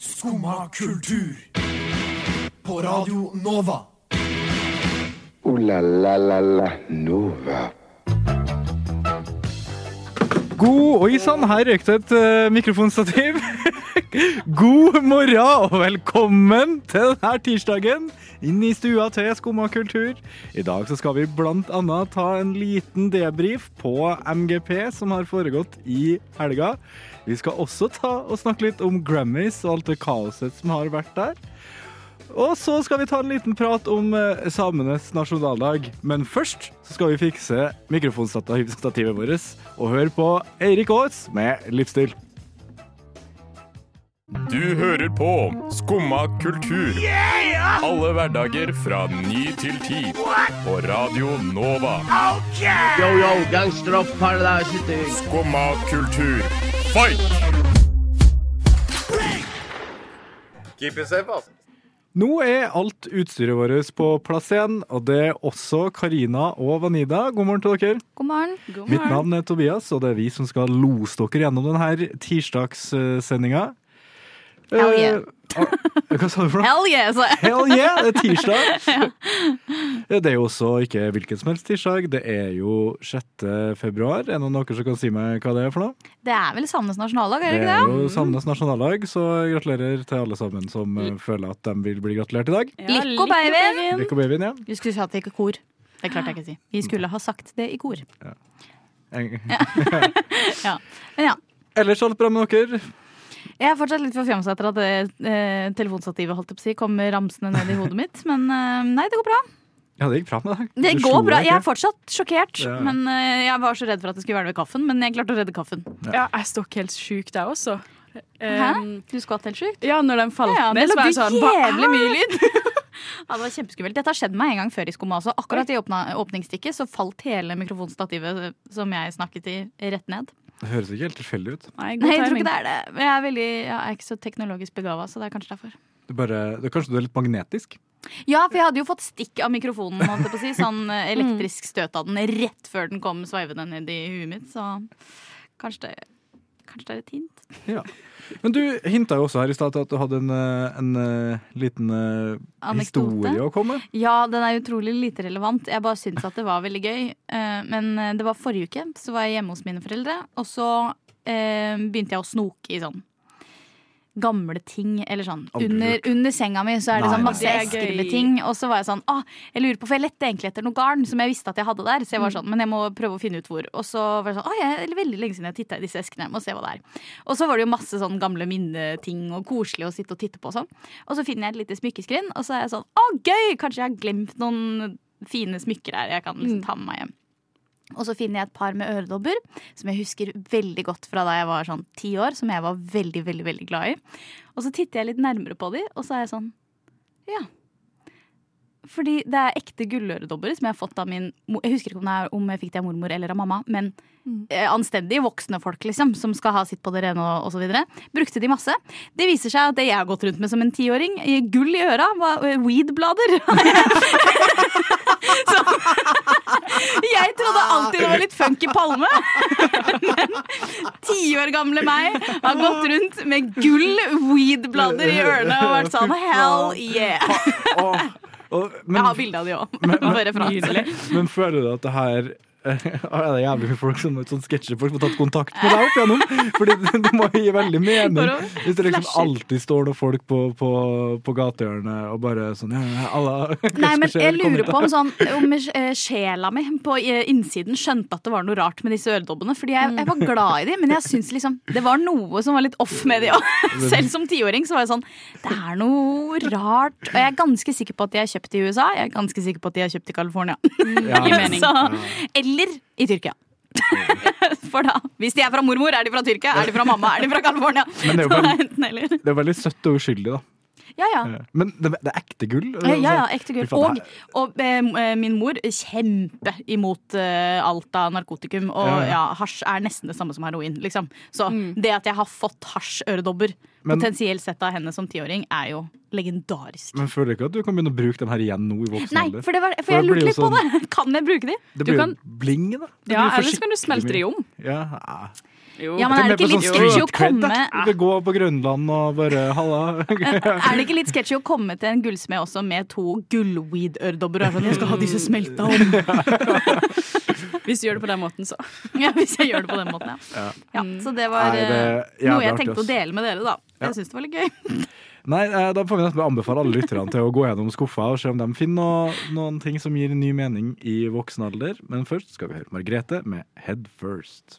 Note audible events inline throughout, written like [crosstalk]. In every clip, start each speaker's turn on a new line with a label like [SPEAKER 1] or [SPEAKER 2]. [SPEAKER 1] Skumma kultur. På Radio Nova.
[SPEAKER 2] Ooh la la la la Nova.
[SPEAKER 3] God Oi sann, her røyk det et eh, mikrofonstativ. [laughs] God morgen og velkommen til denne tirsdagen inn i stua til Skumma kultur. I dag så skal vi bl.a. ta en liten debrief på MGP som har foregått i helga. Vi skal også ta og snakke litt om Grammys og alt det kaoset som har vært der. Og så skal vi ta en liten prat om eh, samenes nasjonaldag. Men først så skal vi fikse mikrofonstativet vårt og høre på Eirik Aas med Livsstil.
[SPEAKER 4] Du hører på Skumma kultur. Alle hverdager fra ny til ti. På Radio Nova.
[SPEAKER 5] Yo, yo, gangsteropp, paradise city.
[SPEAKER 4] Skumma kultur. Fight!
[SPEAKER 3] Nå er alt utstyret vårt på plass igjen, og det er også Karina og Vanida. God morgen til dere.
[SPEAKER 6] God morgen.
[SPEAKER 3] Mitt navn er Tobias, og det er vi som skal lose dere gjennom denne tirsdagssendinga. Eh, ah,
[SPEAKER 6] Hell yeah.
[SPEAKER 3] Hva sa du for noe?
[SPEAKER 6] Hell yeah! altså. sa jeg.
[SPEAKER 3] Hell yeah, det er tirsdag. Det er jo også ikke hvilken som helst tirsdag. Det er jo 6. februar. Er det noen av dere som kan si meg hva det er for noe?
[SPEAKER 6] [laughs] Det er vel samenes nasjonaldag, er det
[SPEAKER 3] Det
[SPEAKER 6] ikke
[SPEAKER 3] er
[SPEAKER 6] det?
[SPEAKER 3] jo samenes nasjonaldag, så gratulerer til alle sammen som eh,
[SPEAKER 6] Mm.
[SPEAKER 3] føler at de vil bli gratulert i dag.
[SPEAKER 6] Likko, babyen!
[SPEAKER 3] Lykke og babyen, ja.
[SPEAKER 6] Vi skulle sagt det i kor. Det klarte jeg ikke å si. Vi skulle ha sagt det i kor.
[SPEAKER 3] En-
[SPEAKER 6] Ja. Men ja.
[SPEAKER 3] Ellers alt bra med dere?
[SPEAKER 6] Jeg er fortsatt litt forfjamsa etter at det, eh, telefonstativet holdt opp å si, kommer ramsende ned i hodet mitt. Men eh, nei, det går bra.
[SPEAKER 3] Ja, det gikk bra med deg.
[SPEAKER 6] Det
[SPEAKER 3] Du
[SPEAKER 6] går
[SPEAKER 3] slo
[SPEAKER 6] bra.
[SPEAKER 3] deg
[SPEAKER 6] Jeg er
[SPEAKER 3] ikke.
[SPEAKER 6] fortsatt sjokkert.
[SPEAKER 3] Ja.
[SPEAKER 6] Men eh, jeg var så redd for at det skulle være ved kaffen. Men jeg klarte å redde kaffen.
[SPEAKER 7] Ja, jeg stokk helt sjuk der også.
[SPEAKER 6] Hæ?
[SPEAKER 7] Um,
[SPEAKER 6] Du skvatt helt sjukt?
[SPEAKER 7] ja, når den falt
[SPEAKER 6] Ja, ja,
[SPEAKER 7] ned,
[SPEAKER 6] det
[SPEAKER 7] så var jeg
[SPEAKER 6] lagde
[SPEAKER 7] sånn Hva
[SPEAKER 6] jævlig
[SPEAKER 7] er
[SPEAKER 6] mye lyd. [laughs] Ja, det var kjempeskummelt. Dette har skjedd meg en gang før i skumma også. Akkurat i åpna, åpningsstikket så falt hele mikrofonstativet eh, som jeg snakket i, rett ned.
[SPEAKER 3] Det høres ikke helt tilfeldig ut.
[SPEAKER 7] Nei, god
[SPEAKER 6] Nei, jeg tror
[SPEAKER 7] timing.
[SPEAKER 6] ikke det er det. Men jeg er, veldig, ja, jeg er ikke så teknologisk begava, så det er kanskje derfor.
[SPEAKER 3] Du bare, du, kanskje du er litt magnetisk?
[SPEAKER 6] Ja, for jeg hadde jo fått stikk av mikrofonen, holdt jeg på å si. Sånn eh, elektrisk støt av den rett før den kom sveivende ned i huet mitt, så kanskje det Kanskje det er et hint?
[SPEAKER 3] Ja. Men du hinta jo også her i stad til at du hadde en, eh, en eh, liten eh,
[SPEAKER 6] Anekdote.
[SPEAKER 3] historie å komme med.
[SPEAKER 6] [laughs] Ja, den er utrolig lite relevant. Jeg bare syns at det var veldig gøy. Eh, Men eh, det var forrige uke, så var jeg hjemme hos mine foreldre. Og så eh, begynte jeg å snoke i sånn gamle ting. Eller sånn
[SPEAKER 3] Aldri
[SPEAKER 6] under,
[SPEAKER 3] gjort.
[SPEAKER 6] under senga mi så er det
[SPEAKER 3] Nei,
[SPEAKER 6] sånn
[SPEAKER 3] nei.
[SPEAKER 6] masse
[SPEAKER 7] Det er
[SPEAKER 6] esker med
[SPEAKER 7] gøy.
[SPEAKER 6] ting. Og så var jeg sånn ah, Jeg lurer på, for jeg lette egentlig etter noe garn som jeg visste at jeg hadde der. Så jeg
[SPEAKER 7] Mm.
[SPEAKER 6] var sånn, men jeg må prøve å finne ut hvor. Og så var jeg sånn, ah, jeg er veldig lenge siden jeg titta i disse eskene. Jeg må se hva det er. Og så var det jo masse sånn gamle minneting og koselig å sitte og titte på og sånn. Og så finner jeg et lite smykkeskrin, og så er jeg sånn Å, gøy! Kanskje jeg har glemt noen fine smykker her jeg kan
[SPEAKER 7] Mm.
[SPEAKER 6] liksom ta med meg hjem. Og så finner jeg et par med øredobber som jeg husker veldig godt fra da jeg var sånn ti år, som jeg var veldig, veldig, veldig glad i. Og så titter jeg litt nærmere på de, og så er jeg sånn Ja. Fordi det er ekte gulløredobber som jeg har fått av min mo- Jeg husker ikke om, det er, om jeg fikk det av mormor eller av mamma, men eh, anstendige voksne folk, liksom, som skal ha sitt på det rene og, og så videre. Brukte de masse. Det viser seg at det jeg har gått rundt med som en tiåring, i gull i øra, var eh, weed-blader. [laughs] Så- Jeg trodde alltid det var litt funky palme. [laughs] Men ti år gamle meg har gått rundt med gull weed-blader i ørene og vært sånn hell yeah.
[SPEAKER 3] Åh, og- men,
[SPEAKER 6] Jeg har bilde av de òg.
[SPEAKER 3] men-
[SPEAKER 6] [laughs] Bare referanse.
[SPEAKER 3] men føler du at det her er det jævlig mye folk som, sånn sketsjefolk som har tatt kontakt med deg opp igjennom? Fordi det, det må jo gi veldig mening
[SPEAKER 6] Bare
[SPEAKER 3] hvis det liksom
[SPEAKER 6] flasher.
[SPEAKER 3] alltid står noen folk på, på, på gatehjørnet og bare sånn ja, ja, alle, [laughs]
[SPEAKER 6] Nei, men jeg lurer på
[SPEAKER 3] om
[SPEAKER 6] om, sånn, om eh, sjela mi på eh, innsiden skjønte at det var noe rart med disse øredobbene. Fordi jeg, jeg var glad i de, men jeg syns liksom det var noe som var litt off med de òg.
[SPEAKER 3] [laughs]
[SPEAKER 6] Selv som tiåring så var jeg sånn Det er noe rart. Og jeg er ganske sikker på at de er kjøpt i USA. Jeg er ganske sikker på at de er kjøpt [laughs] i California. Så, eller i Tyrkia. [laughs] For da, Hvis de er fra mormor, er de fra Tyrkia. Er de fra mamma, er de fra California.
[SPEAKER 3] Men det er jo
[SPEAKER 6] Så
[SPEAKER 3] bare-
[SPEAKER 6] enten eller.
[SPEAKER 3] Det er veldig søtt og uskyldig, da. Eh,
[SPEAKER 6] Ja, ja.
[SPEAKER 3] Men det, det er ekte gull? Altså,
[SPEAKER 6] Ja, ja, ekte gull.
[SPEAKER 3] Fy faen,
[SPEAKER 6] Og,
[SPEAKER 3] det
[SPEAKER 6] og eh, min mor kjempe imot eh, alt av narkotikum. Og
[SPEAKER 3] Ja,
[SPEAKER 6] ja,
[SPEAKER 3] ja.
[SPEAKER 6] hasj er nesten det samme som heroin. Liksom. Så det at jeg har fått hasjøredobber
[SPEAKER 3] Men-
[SPEAKER 6] potensielt sett av henne som tiåring, er jo legendarisk.
[SPEAKER 3] Men føler du ikke at du kan begynne å bruke dem her igjen nå i voksen
[SPEAKER 6] Nei,
[SPEAKER 3] alder?
[SPEAKER 6] for, det var, for,
[SPEAKER 3] For
[SPEAKER 6] jeg
[SPEAKER 3] det blir
[SPEAKER 6] lurte
[SPEAKER 3] jo sånn-
[SPEAKER 6] litt på det. [laughs] Kan jeg bruke de?
[SPEAKER 3] Det
[SPEAKER 7] Du
[SPEAKER 3] blir jo
[SPEAKER 7] kan-
[SPEAKER 3] bling, da. Det blir
[SPEAKER 7] Ja, ellers kan du
[SPEAKER 3] forsiktig
[SPEAKER 7] smelte det
[SPEAKER 3] mye.
[SPEAKER 7] om.
[SPEAKER 3] Ja, ah. ja.
[SPEAKER 7] Jo.
[SPEAKER 6] Ja, men er det ikke
[SPEAKER 3] sånn
[SPEAKER 6] litt sketchy å komme
[SPEAKER 3] Det går på Grønland og bare halla.
[SPEAKER 6] [laughs]
[SPEAKER 3] [laughs]
[SPEAKER 6] Er det ikke litt sketchy å komme til en gullsmed også med to gullweed-øredobber? og er Sånn, jeg skal ha disse smelta om!
[SPEAKER 7] Hvis du gjør det på den måten, så.
[SPEAKER 6] [laughs] Ja, hvis jeg gjør det på den måten, ja. ja så det var
[SPEAKER 3] Nei, det er
[SPEAKER 6] eh, noe jeg
[SPEAKER 3] jævlig artig,
[SPEAKER 6] tenkte å
[SPEAKER 3] ass.
[SPEAKER 6] dele med dere, da. Jeg syns det var litt gøy.
[SPEAKER 3] Nei, eh, da får vi nesten anbefale alle lytterne til å gå gjennom skuffa og se om de finner noe, noen ting som gir ny mening i voksen alder. Men først skal vi høre Margrethe med Head First.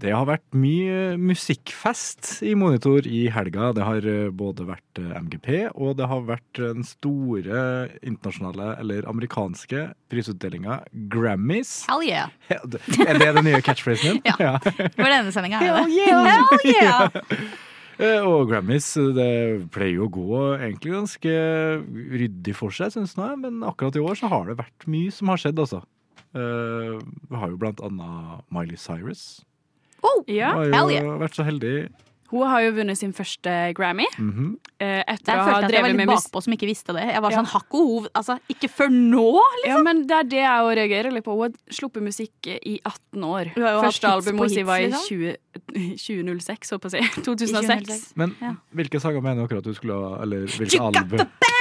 [SPEAKER 3] Det har vært mye musikkfest i monitor i helga. Det har eh, både vært eh, MGP, og det har vært eh, den store internasjonale, eller amerikanske, prisutdelinga Grammys.
[SPEAKER 6] [laughs] Hell yeah!
[SPEAKER 3] [laughs] Er det den nye catchphrasen din?
[SPEAKER 6] [laughs] Ja. Det var denne sendinga her. det.
[SPEAKER 3] yeah.
[SPEAKER 6] [laughs] Hell yeah!
[SPEAKER 3] Eh, Og Grammys det pleier jo å gå egentlig ganske ryddig for seg, syns jeg. Men akkurat i år så har det vært mye som har skjedd, altså. Eh, vi har jo blant annet Miley Cyrus.
[SPEAKER 6] Oh,
[SPEAKER 7] Ja.
[SPEAKER 3] Hun har
[SPEAKER 6] hell
[SPEAKER 3] jo
[SPEAKER 6] yeah.
[SPEAKER 3] vært så heldig.
[SPEAKER 7] Hun har jo vunnet sin første Grammy
[SPEAKER 3] Mhm.
[SPEAKER 7] eh, etter
[SPEAKER 6] Der
[SPEAKER 7] å ha
[SPEAKER 6] følte jeg at jeg var
[SPEAKER 7] drevet med
[SPEAKER 6] litt
[SPEAKER 7] musikk.
[SPEAKER 6] bakpå som ikke visste det. Jeg var
[SPEAKER 7] Ja.
[SPEAKER 6] sånn hakk og hov. Altså, ikke før nå!
[SPEAKER 7] Ja, men det er det jeg også reagerer litt på. Hun har sluppet musikk i 18 år.
[SPEAKER 6] Hun har jo hatt
[SPEAKER 7] Første
[SPEAKER 6] hits på
[SPEAKER 7] albumet hennes
[SPEAKER 6] hits,
[SPEAKER 7] var i
[SPEAKER 6] liksom.
[SPEAKER 7] 20, 2006, holdt på å si. 2006.
[SPEAKER 3] Men
[SPEAKER 6] Ja.
[SPEAKER 3] hvilke sanger mener dere at du skulle ha Eller hvilke
[SPEAKER 6] You got
[SPEAKER 3] album?
[SPEAKER 6] the best!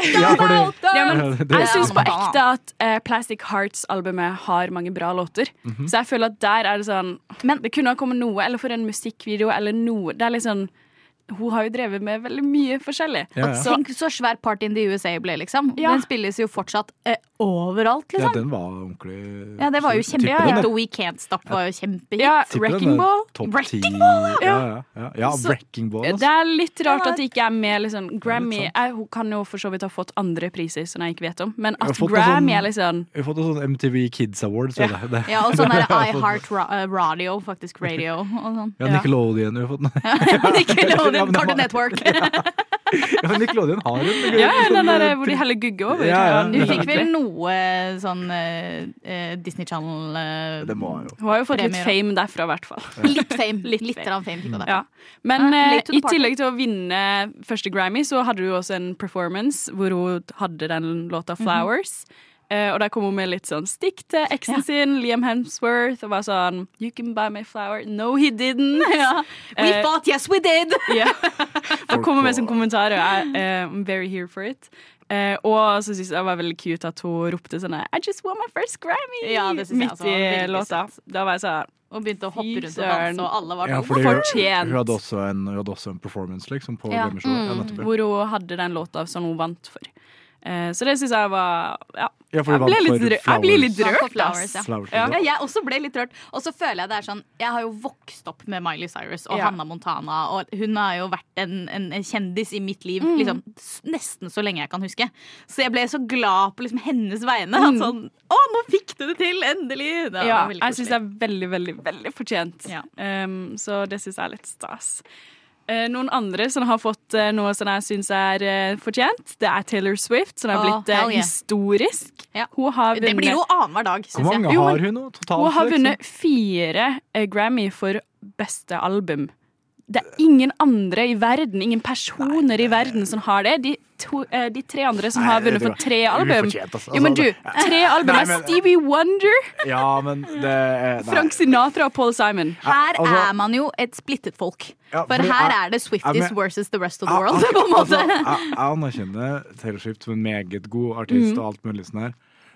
[SPEAKER 3] Ja, fordi-
[SPEAKER 7] Ja, men
[SPEAKER 3] Ja, det-
[SPEAKER 7] jeg syns på
[SPEAKER 6] Ja, men
[SPEAKER 7] ekte at eh, Plastic Hearts-albumet har mange bra låter. Så jeg føler at der er det sånn
[SPEAKER 6] Men-
[SPEAKER 7] Det kunne ha kommet noe, eller for en musikkvideo, eller noe. Det er litt sånn Hun har jo drevet med veldig mye forskjellig.
[SPEAKER 3] Ja,
[SPEAKER 6] Og
[SPEAKER 3] ja.
[SPEAKER 6] Tenk så svær Party in the USA ble, liksom.
[SPEAKER 7] Ja.
[SPEAKER 6] Den spilles jo fortsatt eh, overalt,
[SPEAKER 3] Ja,
[SPEAKER 6] liksom.
[SPEAKER 3] den var ordentlig
[SPEAKER 6] Ja, det var jo
[SPEAKER 3] Tipper
[SPEAKER 6] kjempehit.
[SPEAKER 3] den,
[SPEAKER 6] og
[SPEAKER 3] det.
[SPEAKER 6] We Can't Stop var jo kjempehit.
[SPEAKER 7] Ja,
[SPEAKER 3] Tipper den
[SPEAKER 7] Wrecking
[SPEAKER 3] er
[SPEAKER 7] Ball.
[SPEAKER 3] Topp
[SPEAKER 6] Wrecking
[SPEAKER 3] 10. Ja, ja, ja. ja
[SPEAKER 7] Så-
[SPEAKER 3] Wrecking Ball.
[SPEAKER 7] Det
[SPEAKER 3] Altså.
[SPEAKER 7] er litt rart at det ikke er med liksom, Grammy.
[SPEAKER 3] sant.
[SPEAKER 7] Jeg, hun kan jo for så vidt ha fått andre priser som jeg ikke vet om, men
[SPEAKER 3] har
[SPEAKER 7] at
[SPEAKER 3] fått noe
[SPEAKER 7] Grammy
[SPEAKER 3] sånn-
[SPEAKER 7] er litt sånn
[SPEAKER 3] Vi har fått en sånn MTV Kids Award, så det. det.
[SPEAKER 6] Ja, og
[SPEAKER 3] [laughs]
[SPEAKER 6] sånn der I Heart Ra eh, Radio, faktisk. Radio og sånn.
[SPEAKER 3] Ja, Nickelodeon vi har fått. [laughs] Ja,
[SPEAKER 6] Nickelodeon,
[SPEAKER 3] men det
[SPEAKER 6] Cartoon
[SPEAKER 3] var-
[SPEAKER 6] Network.
[SPEAKER 3] Ja, men Nickelodeon har en
[SPEAKER 7] Ja, den
[SPEAKER 3] eh,
[SPEAKER 7] der eh, hvor de heller gugge over.
[SPEAKER 3] Ja, ja.
[SPEAKER 6] Du fikk vel noe sånn eh, eh, Disney Channel eh,
[SPEAKER 3] Det må jeg jo.
[SPEAKER 7] Hun har jo fått litt fame
[SPEAKER 6] Premier, da.
[SPEAKER 7] derfra, i hvert fall.
[SPEAKER 6] Litt fame. Litt,
[SPEAKER 7] Litt
[SPEAKER 6] litt
[SPEAKER 7] fame.
[SPEAKER 6] grann fame fikk hun der.
[SPEAKER 7] Ja. Men
[SPEAKER 6] Ja,
[SPEAKER 7] eh,
[SPEAKER 6] late to
[SPEAKER 7] i
[SPEAKER 6] the party.
[SPEAKER 7] tillegg til å vinne første Grammy, så hadde hun også en performance hvor hun hadde den låta 'Flowers'. Eh, og der kom hun med litt sånn stikk til eksen sin, Liam Hemsworth, og var sånn 'You can buy me a flower'. No, he didn't.
[SPEAKER 6] [laughs] [laughs] Ja. We
[SPEAKER 7] Eh,
[SPEAKER 6] thought, yes we did!
[SPEAKER 7] [laughs] Ja. Og kommer med som kommentar. Og jeg, eh, I'm very here for it. Eh, og så syns jeg det var veldig cute at hun ropte sånn I just won my first Grammy!
[SPEAKER 6] Ja, det synes jeg
[SPEAKER 7] Midt
[SPEAKER 6] også var
[SPEAKER 7] i
[SPEAKER 6] veldig
[SPEAKER 7] låta. Da var jeg sånn
[SPEAKER 6] Og begynte å
[SPEAKER 7] Fy
[SPEAKER 6] hoppe rundt og danse,
[SPEAKER 7] søren.
[SPEAKER 6] og alle var
[SPEAKER 3] Ja,
[SPEAKER 6] sånn
[SPEAKER 3] fordi hun,
[SPEAKER 7] Fortjent. mm.
[SPEAKER 3] hun, hadde også en, hun hadde også en performance liksom, på
[SPEAKER 6] Ja.
[SPEAKER 3] Grammyshowet. Ja, nettopp, ja.
[SPEAKER 7] hvor hun hadde den låta som hun vant for. Eh, så det syns jeg var Ja,
[SPEAKER 3] Ja, for
[SPEAKER 7] jeg
[SPEAKER 3] hun
[SPEAKER 7] ble
[SPEAKER 3] vant for
[SPEAKER 7] litt, rø jeg ble litt rørt,
[SPEAKER 6] Flowers. Ja, for
[SPEAKER 7] ass.
[SPEAKER 6] Flowers,
[SPEAKER 3] Flowers,
[SPEAKER 7] Ja.
[SPEAKER 6] Ja, jeg også ble litt rørt. Og så føler jeg det er sånn Jeg har jo vokst opp med Miley Cyrus og
[SPEAKER 7] Ja.
[SPEAKER 6] Hannah Montana, og hun har jo vært en, en, en kjendis i mitt liv liksom, s- nesten så lenge jeg kan huske. Så jeg ble så glad på liksom, hennes vegne. at Sånn, å, nå fikk du det til! Endelig! Det
[SPEAKER 7] Ja,
[SPEAKER 6] var veldig
[SPEAKER 7] jeg syns det
[SPEAKER 6] koselig.
[SPEAKER 7] er veldig, veldig veldig fortjent.
[SPEAKER 6] Ja.
[SPEAKER 7] Um, så det syns jeg er litt stas. Eh, noen andre som har fått eh, noe som jeg syns er eh, fortjent, det er Taylor Swift, som har
[SPEAKER 6] Å,
[SPEAKER 7] blitt eh,
[SPEAKER 6] hell yeah.
[SPEAKER 7] historisk.
[SPEAKER 6] Ja.
[SPEAKER 7] Hun har
[SPEAKER 6] det blir jo
[SPEAKER 7] vunnet,
[SPEAKER 6] annenhver dag,
[SPEAKER 3] Hvor
[SPEAKER 6] syns jeg.
[SPEAKER 3] mange
[SPEAKER 7] Jo, men-
[SPEAKER 3] har hun nå? Totalt,
[SPEAKER 7] hun har
[SPEAKER 3] liksom?
[SPEAKER 7] vunnet fire eh, Grammy for beste album. Det er ingen andre i verden, ingen personer i verden som har det. De, to, eh, de tre andre som
[SPEAKER 3] Nei,
[SPEAKER 7] har
[SPEAKER 3] det
[SPEAKER 7] vunnet
[SPEAKER 3] tror
[SPEAKER 7] for
[SPEAKER 3] jeg-
[SPEAKER 7] tre
[SPEAKER 3] det er
[SPEAKER 7] album.
[SPEAKER 3] ufortjent, altså.
[SPEAKER 7] Jo, men du,
[SPEAKER 3] Altså,
[SPEAKER 7] tre album
[SPEAKER 3] Nei,
[SPEAKER 7] er
[SPEAKER 3] men-
[SPEAKER 7] Stevie Wonder,
[SPEAKER 3] Ja, men det er- nei.
[SPEAKER 7] Frank Sinatra og Paul Simon.
[SPEAKER 6] Her
[SPEAKER 3] Altså-
[SPEAKER 6] er man jo et splittet folk.
[SPEAKER 3] Ja,
[SPEAKER 6] For
[SPEAKER 3] fordi
[SPEAKER 6] her
[SPEAKER 3] jeg-
[SPEAKER 6] er det
[SPEAKER 3] jeg
[SPEAKER 6] Swifties
[SPEAKER 3] men-
[SPEAKER 6] versus the rest of the
[SPEAKER 3] Ja,
[SPEAKER 6] world,
[SPEAKER 3] altså,
[SPEAKER 6] [laughs] på en måte.
[SPEAKER 3] jeg, jeg anerkjenner Taylor Swift som en meget god
[SPEAKER 7] Mm.
[SPEAKER 3] artist og alt mulig sånn her.